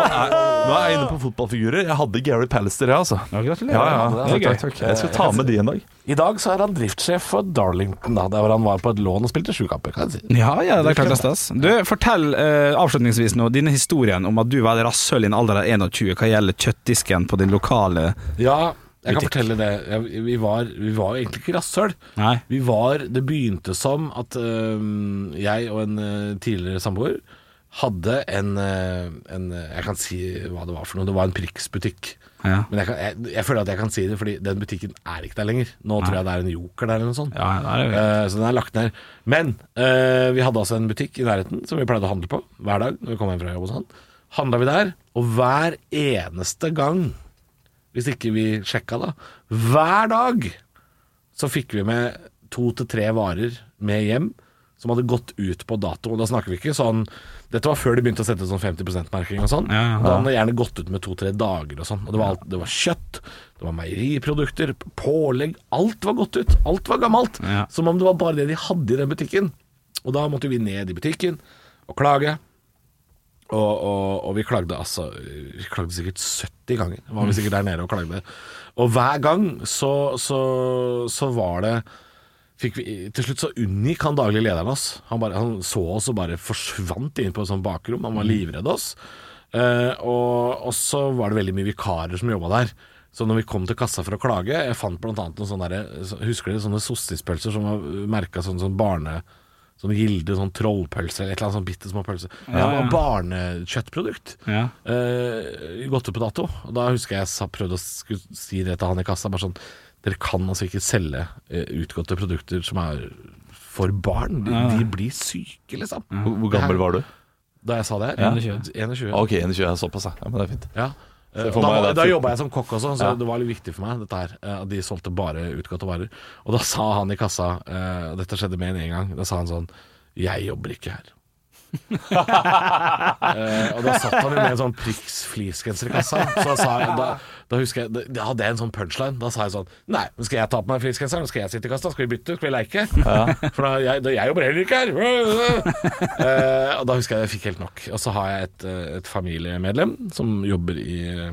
Speaker 4: er jeg inne på fotballfigurer. Jeg hadde Gary Pallister, jeg, altså.
Speaker 3: Ja, gratulerer.
Speaker 4: Ja, ja.
Speaker 5: det er
Speaker 4: Takk,
Speaker 5: gøy.
Speaker 4: takk. Jeg skal ta med de en dag.
Speaker 5: I dag så er han driftssjef for Darlington, da, der hvor han var på et lån og spilte sjukamper. Kan jeg si.
Speaker 3: Ja, ja, det er klart det er stas. Du, fortell eh, avslutningsvis nå dine historien om at du var et rasshøl i en alder av 21 hva gjelder kjøttdisken på din lokale
Speaker 5: Ja, jeg kan
Speaker 3: Butikk.
Speaker 5: fortelle det. Jeg, vi, var, vi var jo egentlig ikke rasshøl.
Speaker 3: Nei.
Speaker 5: Vi var Det begynte som at øhm, jeg og en øh, tidligere samboer hadde en, øh, en øh, Jeg kan si hva det var for noe. Det var en priksbutikk.
Speaker 3: Ja.
Speaker 5: Men jeg, kan, jeg, jeg føler at jeg kan si det, fordi den butikken er ikke der lenger. Nå tror jeg det er en joker der eller noe sånt.
Speaker 3: Ja, ja, det er
Speaker 5: Eh, så den er lagt ned. Men eh, vi hadde altså en butikk i nærheten som vi pleide å handle på hver dag når vi kom hjem fra jobb og sånn. Handla vi der, og hver eneste gang, hvis ikke vi sjekka da, hver dag så fikk vi med to til tre varer med hjem som hadde gått ut på dato. Og da snakker vi ikke sånn Dette var før de begynte å sette sånn 50 %-merking og sånn.
Speaker 3: Ja, ja.
Speaker 5: Da hadde det gjerne gått ut med to-tre dager og sånn. Og det var, alt, det var kjøtt, det var meieriprodukter, pålegg. Alt var gått ut. Alt var gammelt.
Speaker 3: Ja.
Speaker 5: Som om det var bare det de hadde i den butikken. Og da måtte vi ned i butikken og klage. Og, og, og vi klagde altså Vi klagde sikkert 70 ganger. Var vi sikkert der nede og klagde. Og hver gang så, så, så var det fikk vi, Til slutt så unngikk han daglig lederen oss. Han, bare, han så oss og bare forsvant inn på et sånt bakrom. Han var livredd oss. Eh, og, og så var det veldig mye vikarer som jobba der. Så når vi kom til kassa for å klage Jeg fant blant annet noen sånne der, Husker dere sånne sossispølser som var merka sånn, sånn barne... Sånn gilde, sånn trollpølse eller et eller annet sånn bitte små pølse. Ja, det var barnekjøttprodukt.
Speaker 3: Ja.
Speaker 5: Eh, gått ut på dato. Og da husker jeg jeg sa- prøvde å skulle si det til han i kassa. Bare sånn Dere kan altså ikke selge eh, utgåtte produkter som er for barn. De, de blir syke, liksom.
Speaker 4: Hvor, hvor gammel var du?
Speaker 5: Da jeg sa det her.
Speaker 3: 21.
Speaker 5: 21.
Speaker 4: Ah, Ok, 21 er såpass, ja. ja. Men det er fint.
Speaker 5: Ja. Eh,
Speaker 4: Så
Speaker 5: og
Speaker 4: for
Speaker 5: Da,
Speaker 4: meg er
Speaker 5: var-
Speaker 4: det
Speaker 5: da
Speaker 4: fint.
Speaker 5: jobba jeg som kokk også, så
Speaker 4: Ja.
Speaker 5: det var litt viktig for meg, dette her. eh, At de solgte bare utgåtte varer. Og da sa han i kassa, eh, og dette skjedde mer enn én gang, da sa han sånn Jeg jobber ikke her. Eh, og da satt han jo med en sånn Prix fleecegenser i kassa. Så da, sa jeg, da, da husker jeg da- Da hadde jeg en sånn punchline. Da sa jeg sånn Nei, nå skal jeg ta på meg fleecegenseren, nå skal jeg sitte i kassa, skal vi bytte, skal vi leike? For da, jeg, da, jeg jobber heller ikke her! Eh, og da husker jeg jeg fikk helt nok. Og så har jeg et, eh, et familiemedlem som jobber i eh,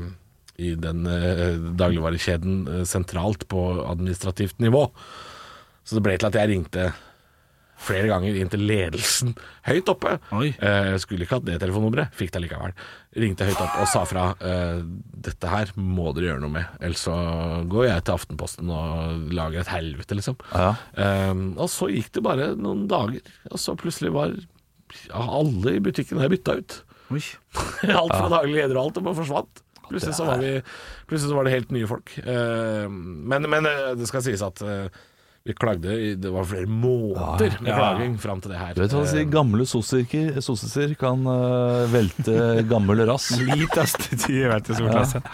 Speaker 5: i den eh, dagligvarekjeden eh, sentralt på administrativt nivå. Så det ble til at jeg ringte flere ganger inn til ledelsen høyt oppe.
Speaker 3: Oi.
Speaker 5: Eh, skulle ikke hatt det telefonnummeret, fikk det likevel. Ringte høyt opp og sa fra eh, dette her må dere gjøre noe med, ellers så går jeg til Aftenposten og lager et helvete, liksom.
Speaker 4: Ja.
Speaker 5: Eh, og så gikk det bare noen dager, og så plutselig var alle i butikken her bytta ut.
Speaker 3: Oi.
Speaker 5: Alt fra daglig leder og alt, og bare forsvant. Plutselig så, var vi, plutselig så var det helt nye folk. Eh, Men, men eh, det skal sies at eh, vi klagde i Det var flere måneder med klaging fram til det her. Eh,
Speaker 4: Du vet hva de sier,
Speaker 3: Eh.
Speaker 4: gamle sossiser sossiser kan eh, velte gammel rass.
Speaker 3: Litest tid jeg vet i storklasse.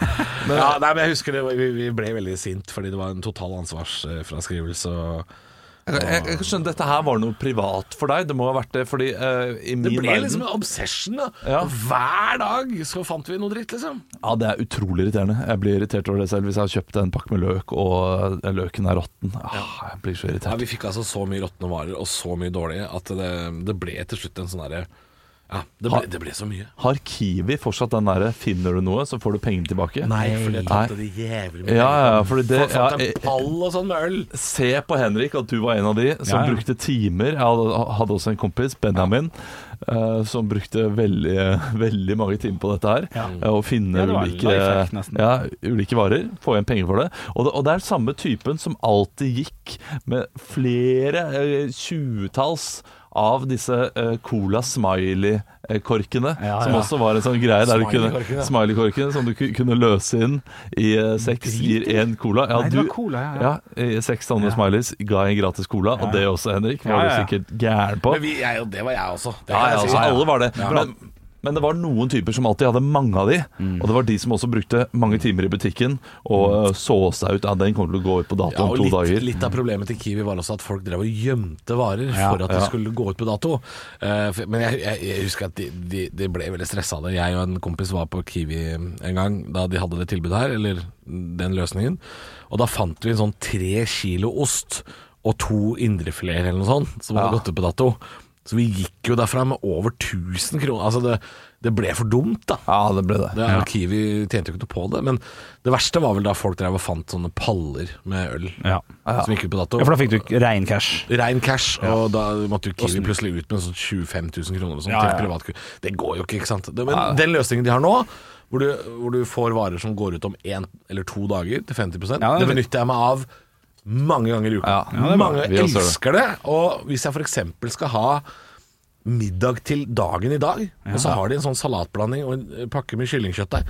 Speaker 5: Men, ja, nei, men jeg husker det, var- vi, vi ble veldig sint fordi det var en total ansvarsfraskrivelse. og-
Speaker 4: Jeg, jeg, jeg kan skjønne, Dette her var noe privat for deg. Det må ha vært det, fordi eh, i min
Speaker 5: Det ble
Speaker 4: verden
Speaker 5: liksom en obsession. da
Speaker 4: Ja.
Speaker 5: Og Hver dag så fant vi noe dritt, liksom.
Speaker 4: Ja, det er utrolig irriterende. Jeg blir irritert over det selv hvis jeg har kjøpt en pakke med løk, og eh, løken er råtten. Ah, jeg blir så
Speaker 5: Ja,
Speaker 4: irritert.
Speaker 5: vi fikk altså så mye råtne varer og så mye dårlige at det, det ble til slutt en sånn derre Ja, det ble, det ble så mye.
Speaker 4: Har Kiwi fortsatt den derre 'finner du noe, så får du pengene tilbake'?
Speaker 5: for jeg tapte det jævlig mye.
Speaker 4: Ja, ja, ja, fordi det
Speaker 5: Folk fant
Speaker 4: ja, jeg-
Speaker 5: en pall og sånn med øl.
Speaker 4: Se på Henrik at du var en av de som
Speaker 3: Ja, ja.
Speaker 4: brukte timer. Jeg hadde, hadde også en kompis, Benjamin, eh, som brukte veldig, veldig mange timer på dette her.
Speaker 3: Ja.
Speaker 4: eh, Å finne
Speaker 3: Ja, det var en
Speaker 4: ulike,
Speaker 3: lifehack nesten.
Speaker 4: ja, ulike varer, få igjen penger for det. Og, det. og det er samme typen som alltid gikk med flere eh, tjuetalls av disse eh, Cola Smiley-korkene,
Speaker 3: Ja,
Speaker 4: som
Speaker 3: ja.
Speaker 4: også var en sånn greie der du kunne
Speaker 5: Smiley-korken, ja.
Speaker 4: Smiley-korken som du ku- kunne løse inn i eh, seks, gir én cola. Ja,
Speaker 3: Nei, det var cola, ja, ja.
Speaker 4: ja, eh, seks sånne smileys ga en gratis cola, og det også, Henrik, var
Speaker 3: Ja, ja, ja.
Speaker 4: du sikkert gæren på.
Speaker 5: Men vi, jeg, og det var jeg også. Det
Speaker 4: Ja,
Speaker 5: kan
Speaker 4: ja,
Speaker 5: jeg si.
Speaker 4: altså, alle var det. Men, men det var noen typer som alltid hadde mange av de,
Speaker 5: Mm.
Speaker 4: og det var de som også brukte mange timer i butikken og eh, så seg ut. Ja, den kommer til å gå ut på dato
Speaker 5: Ja,
Speaker 4: om
Speaker 5: og
Speaker 4: to
Speaker 5: litt,
Speaker 4: dager.
Speaker 5: litt av problemet til Kiwi var også at folk drev og gjemte varer
Speaker 3: Ja,
Speaker 5: for at det skulle gå ut på dato. Eh, for- men jeg, jeg, jeg husker at de, de, de ble veldig stressa av det. Jeg og en kompis var på Kiwi en gang da de hadde det tilbudet her, eller den løsningen. Og da fant vi en sånn tre kilo ost og to indrefileter eller noe sånt som hadde gått ut på dato. Så vi gikk jo derfra med over 1000 kroner. Altså, det, det ble for dumt, da.
Speaker 4: Ja, det ble det.
Speaker 5: Det er, jo Kiwi tjente jo ikke noe på det, men det verste var vel da folk drev og fant sånne paller med øl
Speaker 3: Ja.
Speaker 5: som gikk ut på dato.
Speaker 3: ja, for da fikk du rein cash.
Speaker 5: Rein cash, og da måtte jo Kiwi plutselig ut med sånn 25 000 kroner og sånt,
Speaker 3: Ja, ja, ja.
Speaker 5: til privatku- Det går jo ikke, ikke sant. Det, men den løsningen de har nå, hvor du, hvor du får varer som går ut om én eller to dager til 50
Speaker 3: Ja,
Speaker 5: det
Speaker 3: det-
Speaker 5: benytter jeg meg av mange ganger i uka.
Speaker 4: Ja,
Speaker 3: ja, det er bra.
Speaker 5: mange
Speaker 4: Vi også gjør det.
Speaker 5: elsker det. Og hvis jeg f.eks. skal ha middag til dagen i dag. Og så har de en sånn salatblanding og en eh, pakke med kyllingkjøtt der.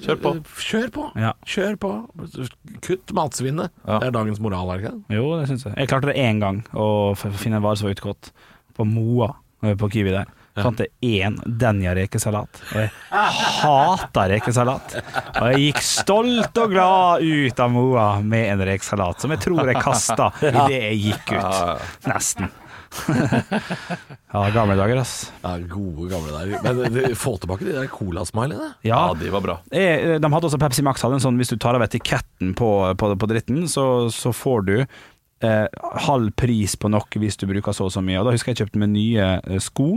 Speaker 4: Kjør på.
Speaker 5: Kjør på.
Speaker 3: Ja.
Speaker 5: Kjør på. Kutt matsvinnet.
Speaker 4: Ja.
Speaker 5: Det er dagens moral, er det ikke det?
Speaker 3: Jo, det syns jeg. Jeg klarte det én gang å f- finne en vare som var utgått. På Moa eh, på Kiwi der. Fant jeg én Denja-rekesalat. Og jeg hata rekesalat. Og jeg gikk stolt og glad ut av Moa med en rekesalat, som jeg tror jeg kasta idet jeg gikk ut. Nesten. ja, gamle dager, ass.
Speaker 5: Ja, gode gamle der. Men de- få tilbake de der colasmilene.
Speaker 3: Ja,
Speaker 4: Ja, de var bra.
Speaker 3: Eh, De hadde også Pepsi Max hadde en sånn Hvis du tar av etiketten på, på, på dritten Så, så får du eh, halv pris på noe hvis du bruker så og så mye Og da husker jeg jeg kjøpte med nye eh, sko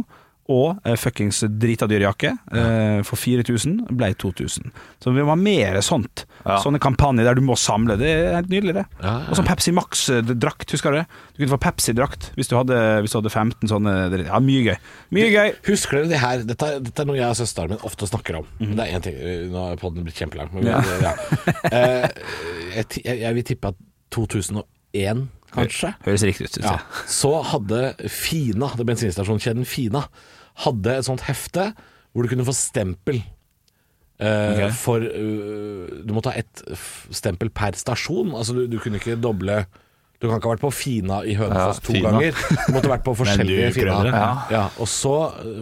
Speaker 3: Og eh, fuckings drita dyr jakke eh, For 4000 ble 2000 Så det var mer sånt
Speaker 4: Ja.
Speaker 3: Sånne kampanjer der du må samle Det er helt nydelig det
Speaker 5: Ja, ja.
Speaker 3: Og så Pepsi Max eh, drakt, husker du det? Du kunne få Pepsi drakt hvis du hadde, hvis du hadde 15 sånne dritt. Ja, mye gøy Mye gøy
Speaker 5: Husker dere det her? Dette, er- dette er noe jeg og søsteren min ofte snakker om. Det er én ting eh, Nå har podden blitt kjempelang. Men vi- ja. Eh, jeg, ti- jeg, jeg vil tippe at 2001, kanskje?
Speaker 3: Høres riktig ut synes
Speaker 5: Ja.
Speaker 3: jeg
Speaker 5: Så hadde Fina, det bensinstasjonskjeden Fina, hadde et sånt hefte hvor du kunne få stempel. Eh,
Speaker 3: Ok.
Speaker 5: For eh, du måtte ha ett f- stempel per stasjon. Altså du, du kunne ikke doble Du kan ikke ha vært på Fina i Hønefoss
Speaker 4: Ja,
Speaker 5: to
Speaker 4: Fina.
Speaker 5: ganger. Du måtte vært på forskjellige
Speaker 3: prøvde
Speaker 5: Fina.
Speaker 3: det.
Speaker 5: Ja. Ja, og så,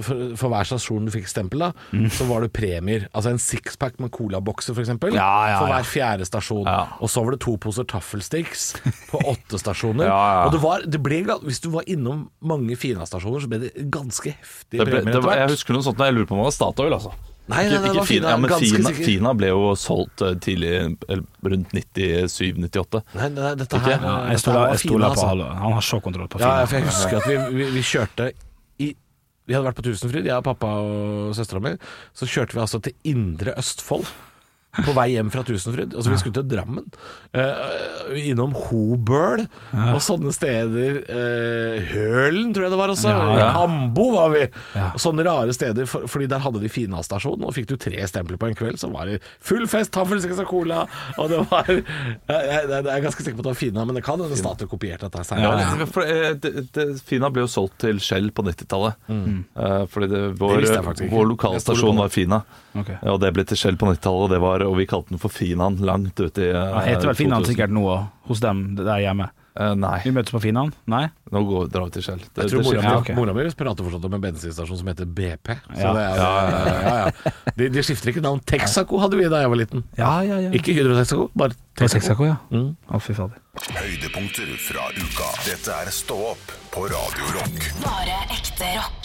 Speaker 5: for, for hver stasjon du fikk stempel, da,
Speaker 3: Mm.
Speaker 5: så var det premier. Altså en sixpack med colabokser, f.eks. eksempel
Speaker 3: Ja, ja,
Speaker 5: for
Speaker 3: ja.
Speaker 5: hver fjerde stasjon.
Speaker 4: Ja.
Speaker 5: Og så var det to poser taffelsticks på åtte stasjoner.
Speaker 4: Ja, ja.
Speaker 5: Og det var, det ble, ga- hvis du var innom mange Fina-stasjoner, så ble det ganske heftig
Speaker 4: Det ble,
Speaker 5: premier
Speaker 4: det
Speaker 5: etter
Speaker 4: var, jeg
Speaker 5: hvert.
Speaker 4: husker noe sånt da jeg lurer på om det var Statoil, altså.
Speaker 5: Nei, nei,
Speaker 4: ikke,
Speaker 5: nei, det
Speaker 4: ikke
Speaker 5: var Fina,
Speaker 4: Fina, ja, men
Speaker 5: ganske
Speaker 4: Fina,
Speaker 5: sikkert.
Speaker 4: Fina ble jo solgt eh, tidlig, eller rundt 97-98.
Speaker 5: Nei, nei, dette her,
Speaker 4: Ja,
Speaker 3: Jeg
Speaker 5: dette her
Speaker 3: stoler
Speaker 5: Eh, var
Speaker 3: jeg stoler
Speaker 5: Fina,
Speaker 3: på
Speaker 5: altså.
Speaker 3: Hallo. Han har så kontroll på
Speaker 5: Ja,
Speaker 3: Fina.
Speaker 5: ja, for jeg husker at vi, vi, vi kjørte i Vi hadde vært på Tusenfryd, jeg og pappa og søstera mi. Så kjørte vi altså til Indre Østfold. På vei hjem fra Tusenfryd. Altså, vi skulle til Drammen. Eh, innom Hobøl og sånne steder. Eh, Hølen, tror jeg det var også.
Speaker 3: Ja, ja.
Speaker 5: Hambo var vi.
Speaker 3: Ja.
Speaker 5: Og Sånne rare steder. For, fordi der hadde de Fina-stasjon, og fikk du tre stempler på en kveld, så var det full fest, taffelseks og cola. Og det var jeg, jeg, jeg er ganske sikker på at det var Fina, men det kan hende Statoil kopierte dette her
Speaker 4: Ja,
Speaker 5: senere.
Speaker 4: For, eh, det, det, Fina ble jo solgt til Shell på 90-tallet. Eh, fordi det,
Speaker 5: Mm. Det
Speaker 4: vår,
Speaker 5: visste jeg faktisk
Speaker 4: vår
Speaker 5: ikke. Jeg tror det
Speaker 4: lokalstasjon var Fina.
Speaker 3: Ok.
Speaker 4: Ja, og det ble til Shell på 90-tallet, og, det var- og vi kalte den for Finaen langt ut i eh,
Speaker 3: Han heter vel Finan
Speaker 4: 2000.
Speaker 3: sikkert nå også, hos dem der hjemme.
Speaker 4: Eh,
Speaker 3: Vi
Speaker 4: nei,
Speaker 3: møtes på Finan? Nei?
Speaker 4: nå går, drar vi til Shell. Det,
Speaker 5: Jeg tror
Speaker 4: det
Speaker 5: mora,
Speaker 4: skifter.
Speaker 3: ja,
Speaker 5: mi-
Speaker 3: ok.
Speaker 5: mora mi prater fortsatt om en bensinstasjon som heter BP. Så
Speaker 3: Ja.
Speaker 5: det er, ja, ja, ja. De, de skifter ikke navn. Texaco hadde vi da jeg var liten.
Speaker 3: Ja, ja, Mm. ja.
Speaker 5: Ikke Hydro Texaco, bare
Speaker 3: Det var
Speaker 5: Texaco.
Speaker 3: Texaco, ja. Å, fy fader.
Speaker 1: Høydepunkter fra uka. Dette er Stå opp på Radio Rock.
Speaker 2: Bare ekte rock.